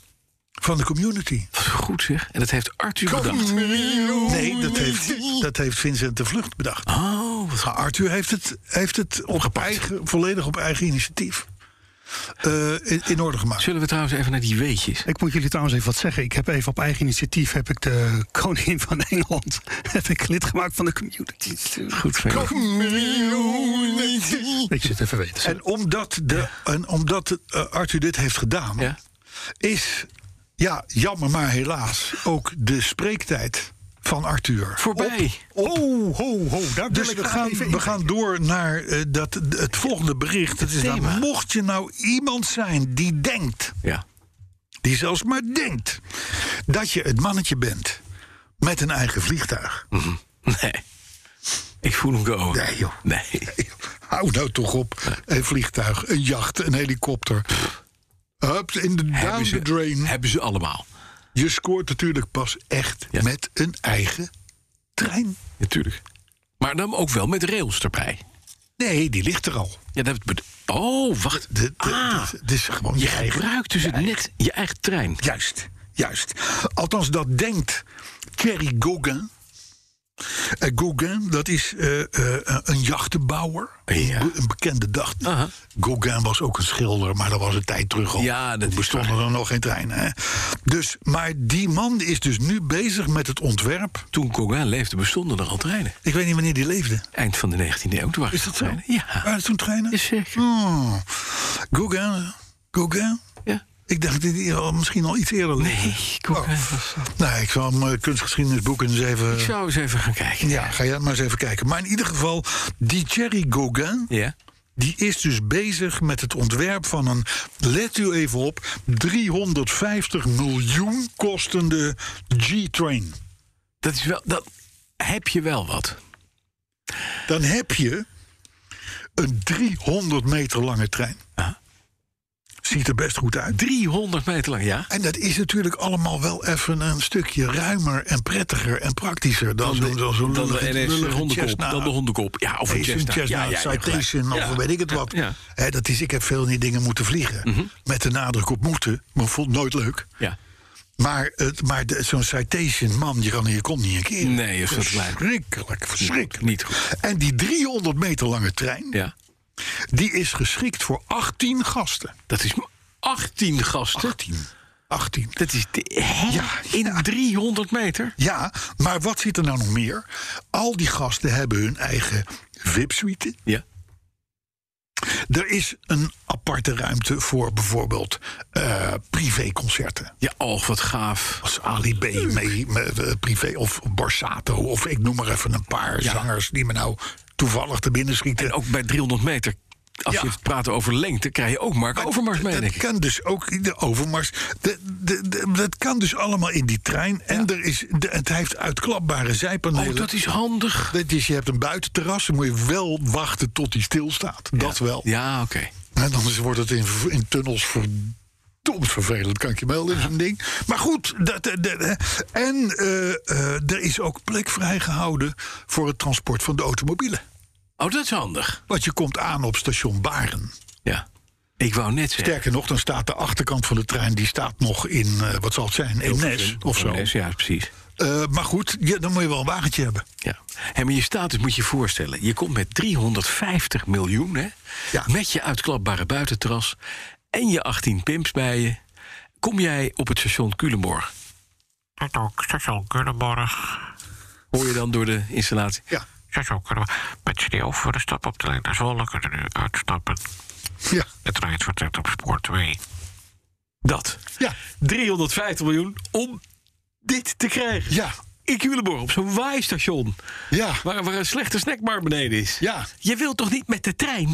van de community.
Wat goed zeg. En dat heeft Arthur bedacht.
Nee, dat heeft, dat heeft Vincent de Vlucht bedacht.
Oh, wat
Maar Arthur heeft het, heeft het op eigen, volledig op eigen initiatief eh, in, in orde gemaakt.
Zullen we trouwens even naar die weetjes?
Ik moet jullie trouwens even wat zeggen. Ik heb even op eigen initiatief heb ik de koningin van Engeland heb ik lid gemaakt van de community.
Goed, Frank.
Ik zit even weten.
En omdat, de, en omdat eh, Arthur dit heeft gedaan,
Ja.
is, ja, jammer maar helaas, ook de spreektijd van Arthur.
Voorbij.
oh, ho, ho, daar dus
ik
we
graag
gaan,
even
we gaan door naar eh, dat, het volgende bericht. Het is nou,
thema.
mocht je nou iemand zijn die denkt
Ja.
die zelfs maar denkt dat je het mannetje bent met een eigen vliegtuig.
Nee. Ik voel hem komen.
Nee, joh.
Nee.
Hou nou toch op. Een vliegtuig, een jacht, een helikopter. Hup, in de down
Hebben
the
ze,
drain.
hebben ze allemaal.
Je scoort natuurlijk pas echt
Ja.
met een eigen trein.
Natuurlijk. maar dan ook wel met rails erbij.
Nee, die ligt er al.
Ja, dat bet- Oh, wacht.
De- de-
ah,
de- Het is gewoon je
je
eigen.
gebruikt dus het net je eigen trein.
Juist, juist. Althans, dat denkt Thierry Gauguin. Eh, Gauguin, dat is eh, eh, een jachtenbouwer.
Ja.
Een be- Een bekende dag.
Aha.
Gauguin was ook een schilder, maar dat was een tijd terug al.
Ja, dat
Toen
is
bestonden er nog geen treinen. Hè? Dus, maar die man is dus nu bezig met het ontwerp.
Toen Gauguin leefde bestonden er al treinen.
Ik weet niet wanneer die leefde. Ah,
Eind van de 19e eeuw. Toen waren
Is
er
dat zo?
treinen. Ja.
Waren er toen treinen?
Is zeker.
Oh. Gauguin, Gauguin.
ja.
Ik dacht dat die al- misschien al iets eerder leefde.
Nee, Gauguin was-
Nou, ik zal mijn kunstgeschiedenisboek eens even...
Ik zou eens even gaan kijken.
Ja, ga jij maar eens even kijken. Maar in ieder geval, die Thierry Gauguin...
Ja.
die is dus bezig met het ontwerp van een... let u even op, 350 miljoen kostende G-Train.
Dat is wel. Dat heb je wel wat.
Dan heb je een 300 meter lange trein.
Ja.
Ziet er best goed uit.
300 meter lang, ja.
En dat is natuurlijk allemaal wel even een stukje ruimer en prettiger en praktischer... dan,
de-
zo'n zo, zo
dan
lullige,
de NS
lullige
hondenkop.
Cessna.
Dan de hondenkop. Ja, of een
Ace
Cessna.
Chestnut,
Ja, ja, ja,
Citation
gelijk.
of
Ja.
weet ik het wat.
ja. Mhm.
Hè, dat is, ik heb veel in die dingen moeten vliegen. Met de nadruk op moeten, maar vond het nooit leuk.
Ja.
Maar, het, maar de- zo'n Citation, man, je kan hier komt niet een keer.
Nee, is dat klein.
Verschrikkelijk, verschrikkelijk.
Niet goed.
En die 300 meter lange trein,
Ja.
Die is geschikt voor 18 gasten.
Dat is 18 gasten.
18. 18.
Dat is de- hè?
Ja,
in 300 meter.
Ja, maar wat zit er nou nog meer? Al die gasten hebben hun eigen VIP-suite.
Ja.
Er is een aparte ruimte voor bijvoorbeeld eh, privéconcerten.
Ja, oh, wat gaaf.
Als Ali B. mee, met, eh, privé, of Borsato, of ik noem maar even een paar zangers die me nou toevallig te binnen schieten.
En ook bij 300 meter, als
Ja.
je het praat over lengte, krijg je ook Mark Overmars mee,
dat
denk ik.
kan dus ook de overmars. de- de- de- dat kan dus allemaal in die trein. En er is, de, het heeft uitklapbare zijpanelen.
Oh, dat is handig.
Dat is, je hebt een buitenterras, dan moet je wel wachten tot die stilstaat. Dat wel.
Ja, oké.
En Nou, dan is- wordt het in, in tunnels verdomd vervelend, kan ik je melden, zo'n ding. Maar goed, dat, dat- dat- en eh, eh, er is ook plek vrijgehouden voor het transport van de automobielen.
Oh, dat is handig.
Want je komt aan op station Baren.
Ja. Ik wou net zeggen.
Sterker nog, dan staat de achterkant van de trein... die staat nog in, eh, wat zal het zijn, in Nes of zo.
Nes, Ja, precies.
Eh, maar goed, ja, dan moet je wel een wagentje hebben.
Ja. Hé, maar je status moet je voorstellen. Je komt met 350 miljoen, hè?
Ja.
Met je uitklapbare buitenterras en je 18 pimps bij je. Kom jij op het station Culemborg?
Tot ook station Culemborg.
Hoor je dan door de installatie?
Ja,
Station Culemborg. Mensen die over willen stappen op de lijn naar Zwolle kunnen nu uitstappen.
ja,
De trein vertrekt op spoor 2.
Dat.
ja,
350 miljoen om dit te krijgen.
ja,
In Culemborg, op zo'n waaistation.
ja.
Waar, waar een slechte snackbar beneden is.
Ja.
Je wilt toch niet met de trein?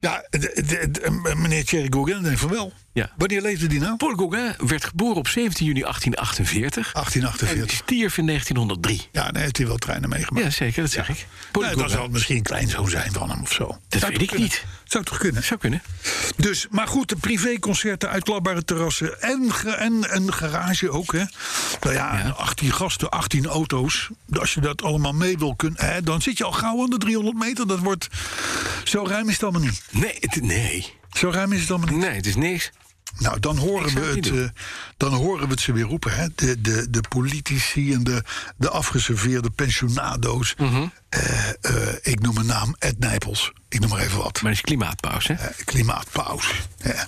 Ja, de- de- de- m- meneer Thierry Gauguin denkt van wel.
Ja.
Wanneer leefde die nou?
Paul Gauguin werd geboren op 17 juni 1848. En
1848.
stierf in 1903.
Ja, dan heeft hij wel treinen meegemaakt.
Ja, zeker, dat zeg ik.
Nou,
Paul Gauguin.
dat zal het misschien een kleinzoon zijn van hem of zo.
Dat
Zou
weet
toch
ik niet.
Zou toch kunnen?
Zou kunnen.
Dus, maar goed, de privéconcerten, uitklapbare terrassen en, ge- en een garage ook. Hè? Nou ja, 18 gasten, 18 auto's. Dus Als je dat allemaal mee wil kunnen, hè, dan zit je al gauw aan de 300 meter. Dat wordt. Zo ruim is het allemaal niet.
Nee, het, nee.
Zo ruim is het allemaal niet.
Nee, het is niks.
Nou, dan
Ik
horen, we
zou het
het,
niet doen.
eh, dan horen we het ze weer roepen. Hè? De, de, de politici en de, de afgeserveerde pensionado's.
Mhm.
Eh, eh, ik noem een naam, Ed Nijpels. Ik noem maar even wat.
Maar het is klimaatpauze, hè?
Eh, klimaatpauze. Ja.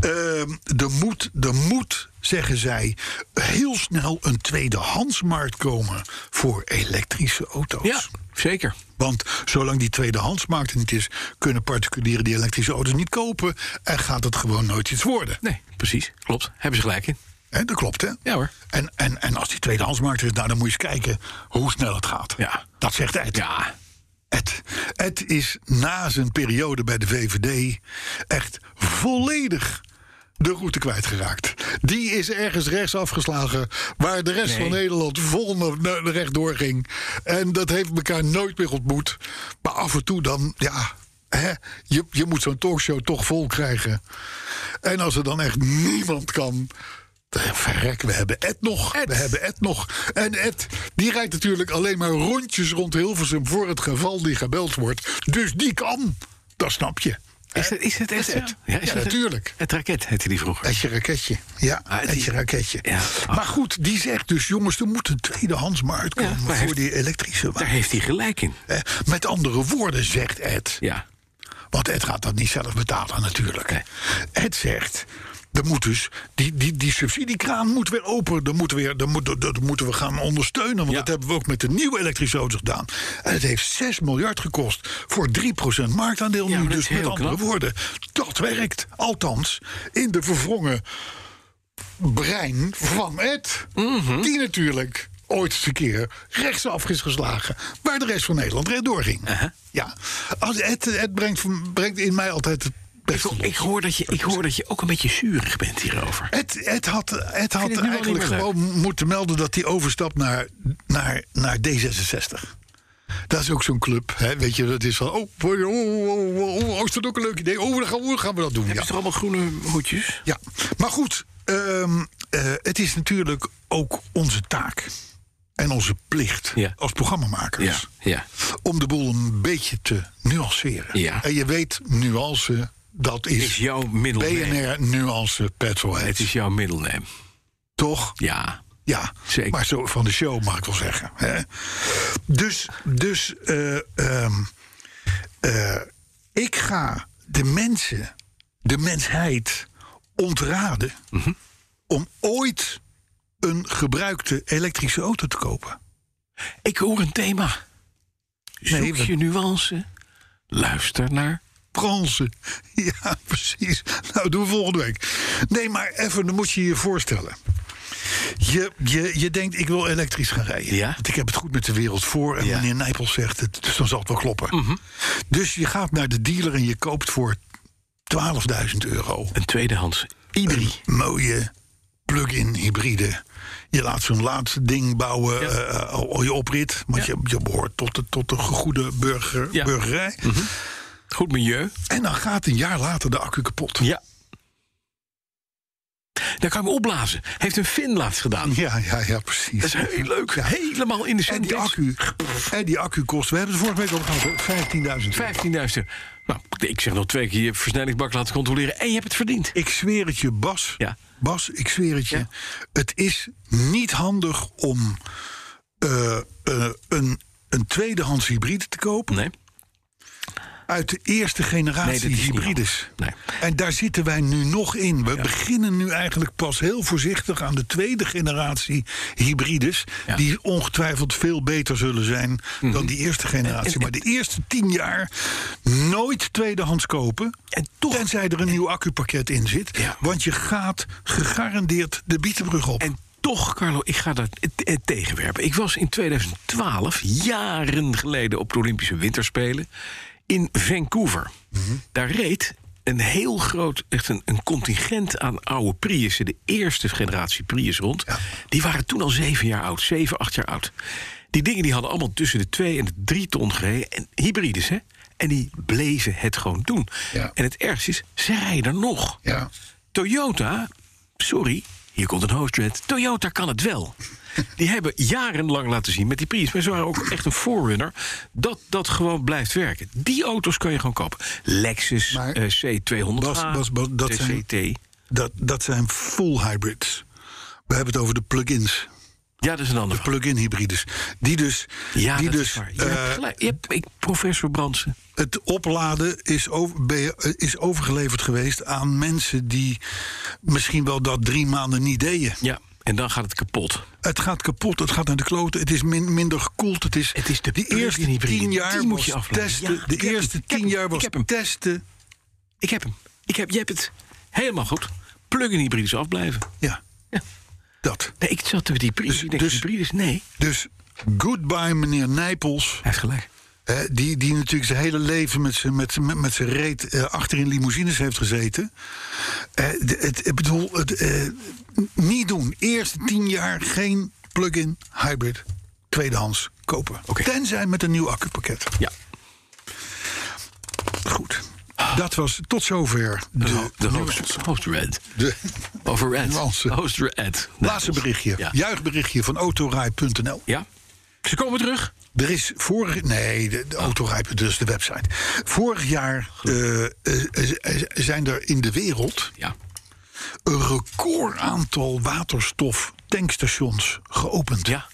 Ehm, er, moet, er moet, zeggen zij, heel snel een tweedehandsmarkt komen voor elektrische auto's.
Ja, zeker.
Want zolang die tweedehandsmarkt er niet is, kunnen particulieren die elektrische auto's niet kopen. En gaat het gewoon nooit iets worden.
Nee, precies. Klopt. Hebben ze gelijk in.
Hè, dat klopt, hè?
Ja hoor.
En, en, en als die tweedehandsmarkt er is, nou, dan moet je eens kijken hoe snel het gaat.
Ja.
Dat zegt Ed.
Ja.
Ed. Ed is na zijn periode bij de VVD echt volledig de route kwijtgeraakt. Die is ergens rechts afgeslagen... waar de rest van Nederland vol naar- naar rechtdoor ging. En dat heeft elkaar nooit meer ontmoet. Maar af en toe dan, ja... Hè, je, je moet zo'n talkshow toch vol krijgen. En als er dan echt niemand kan... Verrek, we hebben Ed nog. We hebben Ed nog. En Ed, die rijdt natuurlijk alleen maar rondjes rond Hilversum... voor het geval die gebeld wordt. Dus die kan. Dat snap je.
Is het, is het echt
Eh, Is het?
zo?
Ja,
is het-
natuurlijk.
Het raket heette die vroeger.
Etje raketje. Ja,
Ah, het-
etje raketje.
Ja.
Maar goed, die zegt dus, jongens, er moet een tweedehands maar
Ja,
uitkomen
maar
voor
heeft-
die elektrische
Daar
wagen.
heeft hij gelijk in.
Eh, Met andere woorden, zegt Ed.
Ja.
Want Ed gaat dat niet zelf betalen natuurlijk.
Nee.
Ed zegt, er moet dus, die, die, die subsidiekraan moet weer open. Dat moeten, weer, dat moet, dat- dat moeten we gaan ondersteunen. Want
Ja.
dat hebben we ook met de nieuwe elektrische auto's gedaan. En het heeft 6 miljard gekost voor 3% marktaandeel
Ja,
nu.
maar dat
Dus
is
met
heel
andere
knap.
woorden, dat werkt. Althans, in de verwrongen brein van Ed. Die natuurlijk ooit eens een keer rechtsaf is geslagen. Waar de rest van Nederland rechtdoor ging. Ja. Als Ed, Ed brengt, van- brengt in mij altijd het
Ik,
beste
ik,
los.
hoor dat je, ik hoor dat je ook een beetje zuurig bent hierover.
Ed, Ed had, Ed
het
had
nu al niet
eigenlijk
meer leuk.
gewoon moeten melden dat hij overstapt naar, naar, naar D66. Dat is ook zo'n club. Hè? Weet je, dat is van. Oh, oh, oh, oh, oh, oh, is dat ook een leuk idee? Oh, dan gaan we, gaan we dat doen.
Hebben
Ja.
ze toch allemaal groene hoedjes?
Ja, maar goed, ehm, eh, het is natuurlijk ook onze taak en onze plicht
Ja.
als programmamakers
ja.
om de boel een beetje te nuanceren.
Ja.
En je weet, nuance, dat is,
Is jouw middelneem.
BNR nuance
Het
petrolhead.
is jouw middelneem.
Toch?
Ja.
Ja,
Zeker.
maar zo van de show mag ik wel zeggen. Hè? Dus, dus eh, ehm, eh, Ik ga de mensen, de mensheid, ontraden om ooit een gebruikte elektrische auto te kopen.
Ik hoor een thema. Zoek
Nee, we-
je nuance. Luister naar.
Pransen. Ja, precies. Nou, doen we volgende week. Nee, maar even, dan moet je je voorstellen. Je, je, je denkt, ik wil elektrisch gaan rijden.
Ja.
Want ik heb het goed met de wereld voor. En meneer Nijpels zegt het, dus dan zal het wel kloppen.
Mhm.
Dus je gaat naar de dealer en je koopt voor 12.000 euro...
Een tweedehands.
Een mooie plug-in hybride. Je laat zo'n laatste ding bouwen, eh, al al je oprit. Want je, je behoort tot de, tot de goede burger,
Ja. Mhm.
burgerij.
Goed milieu.
En dan gaat een jaar later de accu kapot.
Ja. Daar kan ik me opblazen. Heeft een Fin laatst gedaan.
ja, ja, ja, precies.
Dat is heel leuk. Helemaal in de
En die,
synthese.
accu, en die accu kost, we hebben het vorige week al gehad, hoor, 15.000 euro.
15.000. Nou, ik zeg nog twee keer je versnellingsbak laten controleren. En je hebt het verdiend.
Ik zweer het je, Bas.
Ja.
Bas, ik zweer het je.
Ja.
Het is niet handig om eh, eh, een, een tweedehands hybride te kopen.
Nee.
uit de eerste generatie
Nee, dat is niet
hybrides.
handig.
En daar zitten wij nu nog in. We beginnen nu eigenlijk pas heel voorzichtig aan de tweede generatie hybrides.
Ja. Mhm.
Die ongetwijfeld veel beter zullen zijn dan die eerste generatie. maar de eerste tien jaar nooit tweedehands kopen.
En toch-
tenzij er een nieuw accupakket in zit.
Ja.
Want je gaat gegarandeerd de Bietenbrug op.
En toch, Carlo, ik ga dat eh, eh, tegenwerpen. Ik was in 2012, jaren geleden, op de Olympische Winterspelen in Vancouver.
Mhm.
Daar reed een heel groot, echt een, een contingent aan oude Priussen, de eerste generatie Prius rond. Die waren toen al zeven jaar oud, zeven, acht jaar oud. Die dingen die hadden allemaal tussen de twee en de drie ton gereden. En hybrides, hè? En die bleven het gewoon doen.
Ja.
En het ergste is, ze rijden er nog.
ja.
Toyota, sorry, hier komt een hoofdtrend. Toyota kan het wel. Die hebben jarenlang laten zien met die Prius. Maar ze waren ook echt een forerunner. Dat dat gewoon blijft werken. Die auto's kan je gewoon kopen. Lexus
Maar-
eh, C200.
Bas, Bas, Bas, dat zijn- Dat, dat zijn full hybrids. We hebben het over de plug-ins.
Ja, dat is een ander. verhaal.
plug-in hybrides. Die dus,
Ja,
die
dat
dus
is waar. Je hebt
eh,
gelijk. Je hebt- ik, professor Brandsen.
het opladen is, over, ben je- eh, is overgeleverd geweest aan mensen die misschien wel dat drie maanden niet deden.
Ja, en dan gaat het kapot.
Het gaat kapot, het gaat naar de kloten, het is min- minder gekoeld. Het is,
Het is de
die
plug-in
eerste
hybride,
tien jaar
die moet je
was
afladen.
testen.
Ja,
de
ik heb
eerste
hem, ik heb
tien
hem,
jaar
ik
was
heb hem.
testen.
Ik heb hem. Ik heb, je hebt het helemaal goed. Plug-in hybrides afblijven.
Ja,
Ja.
dat.
Nee, ik zat met die Prius.
Dus-
ik denk,
dus-
hybrides? Nee.
Dus goodbye meneer Nijpels.
Hij heeft gelijk.
Hè, die, die natuurlijk zijn hele leven met zijn met, z'n- met, met z'n reet eh, achter in limousines heeft gezeten. Eh, de- het, ik bedoel, het, eh, n- niet doen. Eerst tien jaar geen plug-in hybrid tweedehands kopen.
Oké.
Tenzij met een nieuw accupakket.
Ja.
Goed. Dat was tot zover de,
De, de host, host Red.
de
Over Red.
Nuance.
Host Red.
laatste berichtje.
Ja.
Juichberichtje van autorij.nl.
ja. Ze komen terug.
Er is vorig... Nee, de, de
Ah.
autorijpen, dus de website. Vorig jaar eh, eh, eh, zijn er in de wereld...
Ja.
een record aantal waterstoftankstations geopend.
Ja.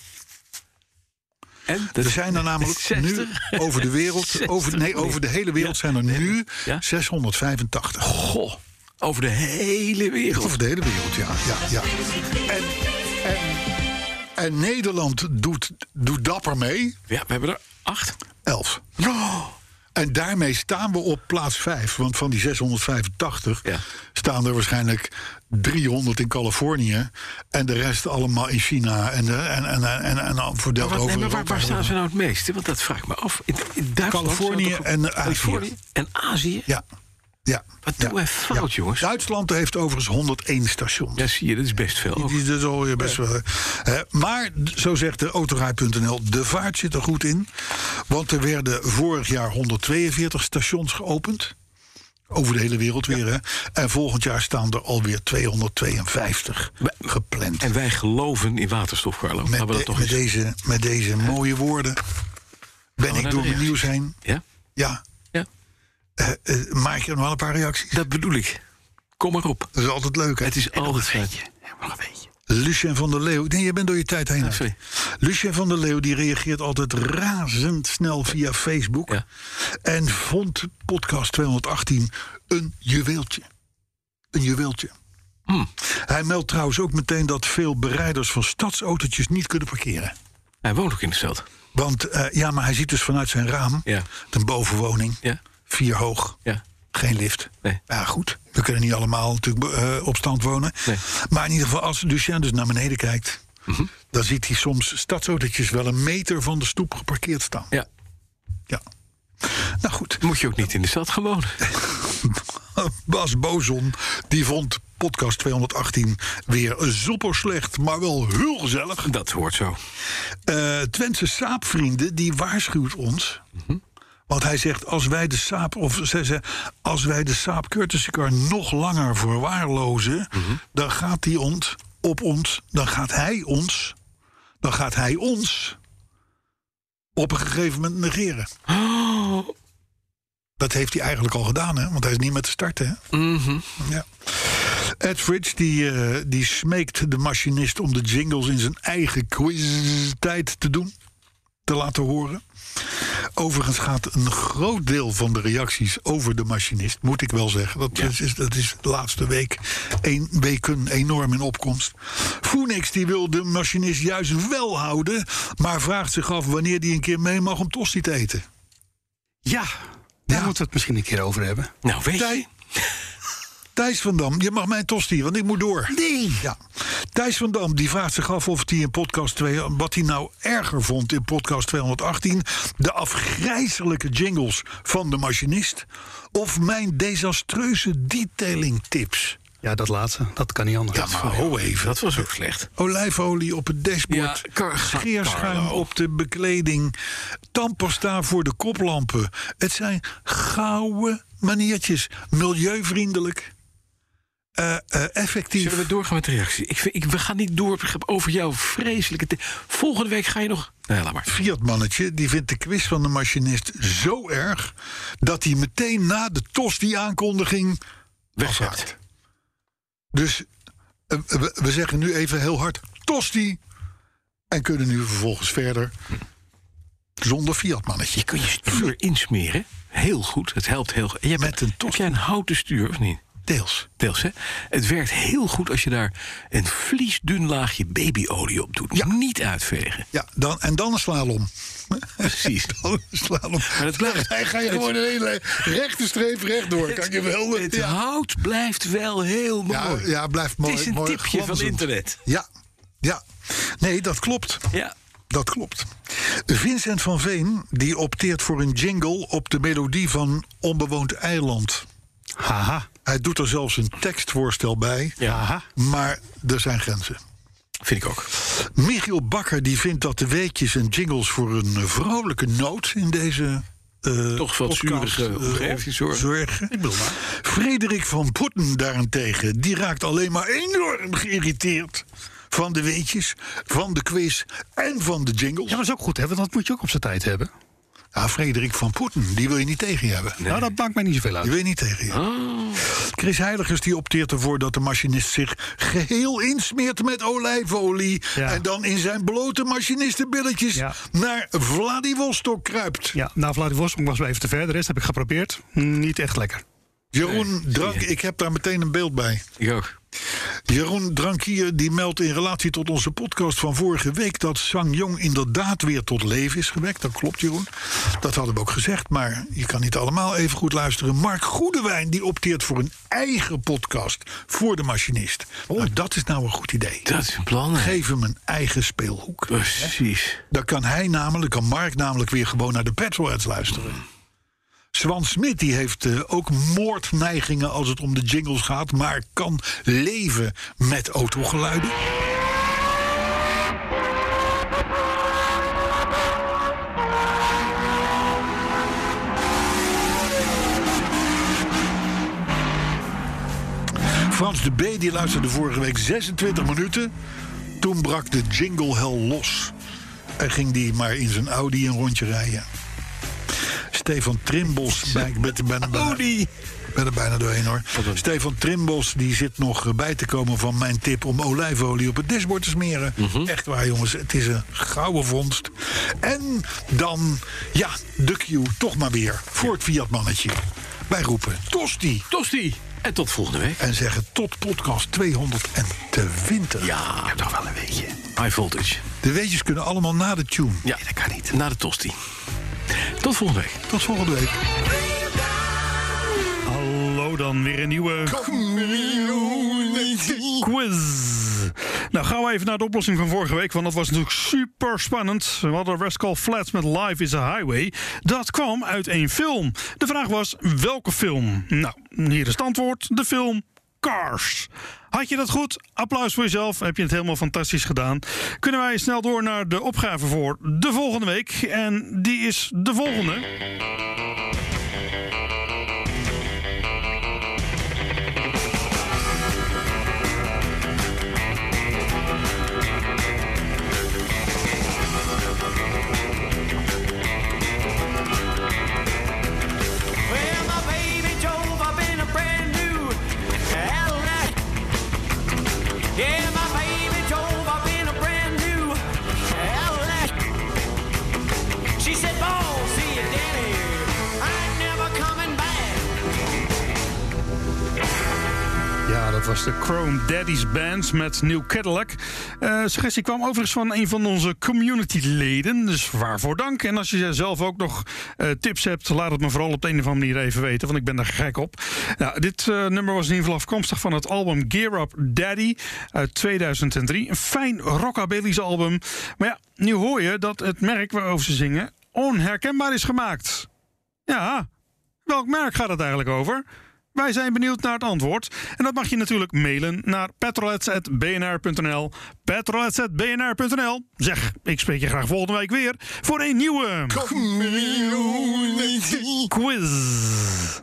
En?
Er zijn er namelijk nu
60.
over de wereld, over, nee, over de hele wereld zijn er nu
Ja.
685.
Goh. Over de hele wereld.
Over de hele wereld, ja. ja, ja. En, en, en Nederland doet, doet dapper mee,
Ja, we hebben er acht.
11. En daarmee staan we op plaats 5. Want van die 685
Ja.
staan er waarschijnlijk 300 in Californië. En de rest allemaal in China. En, de- en, en, en, en, en al verdeeld
Wat, nee,
over
maar waar,
Europa.
waar staan ze nou het meeste? Want dat vraag ik me af. In, in Duitsland
Californië
zou toch-
en eh, Azië.
Californië en Azië.
Ja. ja.
Wat
ja.
doen wij fout,
Ja.
jongens?
Duitsland heeft overigens 101 stations.
Ja, zie je, dat is best veel. ook.
Die, die- dat is alweer best wel. hè. maar, d- zo zegt de autorij.nl, de vaart zit er goed in. Want er werden vorig jaar 142 stations geopend. Over de hele wereld weer. Hè. En volgend jaar staan er alweer 252 gepland.
En wij geloven in waterstof, Carlo.
met,
Laten we dat
de-
toch
met,
eens... Nou,
deze, met deze mooie woorden ben ik
naar
door
de
mijn nieuws heen.
Ja?
Ja,
Ja,
eh, eh, maak je nog wel een paar reacties.
dat bedoel ik. Kom maar op.
Dat is altijd leuk. Hè.
Het is altijd fijn.
Nog een beetje.
Lucien van der Leeuw. Nee, je bent door je tijd heen. uit.
sorry.
Lucien van der Leeuw die reageert altijd razendsnel via Facebook.
Ja.
En vond podcast 218 een juweeltje. Een juweeltje. Hij meldt trouwens ook meteen dat veel bereiders van stadsautootjes niet kunnen parkeren.
Hij woont ook in de stad.
Want eh, ja, maar hij ziet dus vanuit zijn raam
Ja.
een bovenwoning.
Ja.
Vier hoog.
Ja.
Geen lift.
Nee.
Ja, goed. We kunnen niet allemaal natuurlijk eh, op stand wonen.
Nee.
Maar in ieder geval, als Lucien dus naar beneden kijkt... dan ziet hij soms stadsautootjes wel een meter van de stoep geparkeerd staan.
Ja.
Ja. Nou goed,
Moet je ook niet in de stad gaan wonen.
Bas Bozon die vond podcast 218 weer super slecht, maar wel heel gezellig.
Dat hoort zo.
Eh Twentse saapvrienden die waarschuwt ons. Want hij zegt, als wij de saap, of ze ze- als wij de saap Curtiscar nog langer verwaarlozen, dan gaat hij ons op ons, dan gaat hij ons, dan gaat hij ons op een gegeven moment negeren. Dat heeft hij eigenlijk al gedaan, hè? want hij is niet met te starten. Hè? Ja. Ed Fridge die, eh, die smeekt de machinist om de jingles in zijn eigen quiz-tijd te doen. Te laten horen. Overigens gaat een groot deel van de reacties over de machinist, moet ik wel zeggen. Dat, is- is, dat is de laatste week, een, weken enorm in opkomst. Phoenix die wil de machinist juist wel houden, maar vraagt zich af wanneer die een keer mee mag om tosti te eten.
Ja, daar moeten we het misschien een keer over hebben.
Nou, weet je.
Tij- Thijs van Dam, je mag mijn tosti, want ik moet door. Nee. Ja. Thijs van Dam die vraagt zich af of hij in podcast 2, wat hij nou erger vond in podcast 218, de afgrijzelijke jingles van de machinist of mijn desastreuze detailing tips.
Ja, dat laatste. Dat kan niet anders.
Ja, maar ho even.
Dat was ook slecht.
Olijfolie op het dashboard.
Ja, Car-
scheerschuim
Carlo.
op de bekleding. Tandpasta voor de koplampen. Het zijn gouden maniertjes. Milieuvriendelijk. eh, eh, effectief.
Zullen we doorgaan met de reactie? Ik vind, ik, we gaan niet door over jouw vreselijke... te- Volgende week ga je nog... Nee, laat maar.
Fiat-mannetje die vindt de quiz van de machinist zo erg... dat hij meteen na de tos die aankondiging
Wegzet.
Dus eh, we, we zeggen nu even heel hard tosti. En kunnen nu vervolgens verder zonder Fiat-mannetje.
Je kunt je stuur insmeren. Heel goed. Het helpt heel... Jij
Met een
Heb
tosti.
jij een houten stuur of niet?
Deels.
Deels, hè? Het werkt heel goed als je daar een vliesdun laagje babyolie op doet. Niet uitvegen.
Ja, dan, en dan een slalom.
Precies.
Dan een slalom.
Maar het blijft-
Hij ga je gewoon een hele rechte streep rechtdoor. Kan ik je wel...
Het
ja.
hout blijft wel heel
Ja,
mooi.
ja, blijft mooi.
het is een
mooi
tipje van
glanzend.
internet.
Ja, ja. Nee, dat klopt.
Ja.
Dat klopt. Vincent van Veen die opteert voor een jingle op de melodie van Onbewoond Eiland.
Haha.
Hij doet er zelfs een tekstvoorstel bij.
Haha.
Maar er zijn grenzen.
Vind ik ook.
Michiel Bakker die vindt dat de weetjes en jingles voor een eh, vrolijke noot in deze. eh,
Toch wat
podcast,
zurige
eh,
omgeving zorgen.
zorgen. Frederik van Putten daarentegen, die raakt alleen maar enorm geïrriteerd. Van de weetjes, van de quiz en van de jingles.
Ja,
Ja,
dat is ook goed, hè? Want dat moet je ook op zijn tijd hebben.
Ah, Frederik van Putten, die wil je niet tegen je hebben.
Nou, dat maakt mij niet zoveel
Die
uit.
wil je niet tegen je.
Ah.
Chris Heiligers die opteert ervoor dat de machinist zich geheel insmeert met olijfolie.
Ja.
En dan in zijn blote machinistenbilletjes
Ja.
naar Vladivostok kruipt.
Ja, nou, Vladivostok was wel even te ver. De rest heb ik geprobeerd. Niet echt lekker.
Jeroen Drank, ik heb daar meteen een beeld bij.
Ik ook.
Jeroen Drankier die meldt in relatie tot onze podcast van vorige week dat Sang Jong inderdaad weer tot leven is gewekt. Dat klopt, Jeroen. Dat hadden we ook gezegd, maar je kan niet allemaal even goed luisteren. Mark Goedewijn die opteert voor een eigen podcast voor de machinist. Nou, dat is nou een goed idee.
Dat is een plan. hè?
Geef hem een eigen speelhoek.
Precies.
Dan kan hij namelijk, kan Mark namelijk weer gewoon naar de Petrolheads luisteren. Swan Smit die heeft eh, ook moordneigingen als het om de jingles gaat, maar kan leven met autogeluiden. Frans de B die luisterde vorige week 26 minuten. Toen brak de jingle hell los. En ging die maar in zijn Audi een rondje rijden. Stefan Trimbos bij, met, met, met,
Audi.
ben er bijna doorheen hoor. Stefan Trimbos die zit nog eh, bij te komen van mijn tip om olijfolie op het dashboard te smeren. Echt waar jongens, het is een gouden vondst. En dan, ja, de Q toch maar weer voor het Fiat mannetje. Wij roepen Tosti
Tosti. En tot volgende week.
en zeggen tot podcast 220.
Ja, toch wel een weetje. High voltage.
De weetjes kunnen allemaal na de tune.
Ja, dat kan niet. Na de tosti. Tot volgende week.
Tot volgende week.
Hallo dan, weer een nieuwe quiz. Nou, gaan we even naar de oplossing van vorige week, want dat was natuurlijk super spannend. We hadden Rascal Flats met Life is a Highway. Dat kwam uit één film. De vraag was, welke film? Nou, hier is het antwoord. De film Cars. Had je dat goed? Applaus voor jezelf. Heb je het helemaal fantastisch gedaan. Kunnen wij snel door naar de opgave voor de volgende week. En die is de volgende.
Well, my baby drove up in a brand new Cadillac. Yeah, my baby drove up in a brand new Cadillac. She said, "Boy, see you, Daddy. I ain't never coming back."
Ja, dat was de Chrome Daddy's Band met New Cadillac. Eh, suggestie kwam overigens van een van onze communityleden, dus waarvoor dank. En als je zelf ook nog eh, tips hebt, laat het me vooral op de een of andere manier even weten, want ik ben daar gek op. Nou, dit eh, nummer was in ieder geval afkomstig van het album Gear Up Daddy uit 2003. Een fijn rockabilly's album. Maar ja, nu hoor je dat het merk waarover ze zingen onherkenbaar is gemaakt. Ja, Welk merk gaat het eigenlijk over? Wij zijn benieuwd naar het antwoord. En dat mag je natuurlijk mailen naar petrolets.bnr.nl. Petrolets.bnr.nl. Zeg, ik spreek je graag volgende week weer voor een nieuwe. Quiz.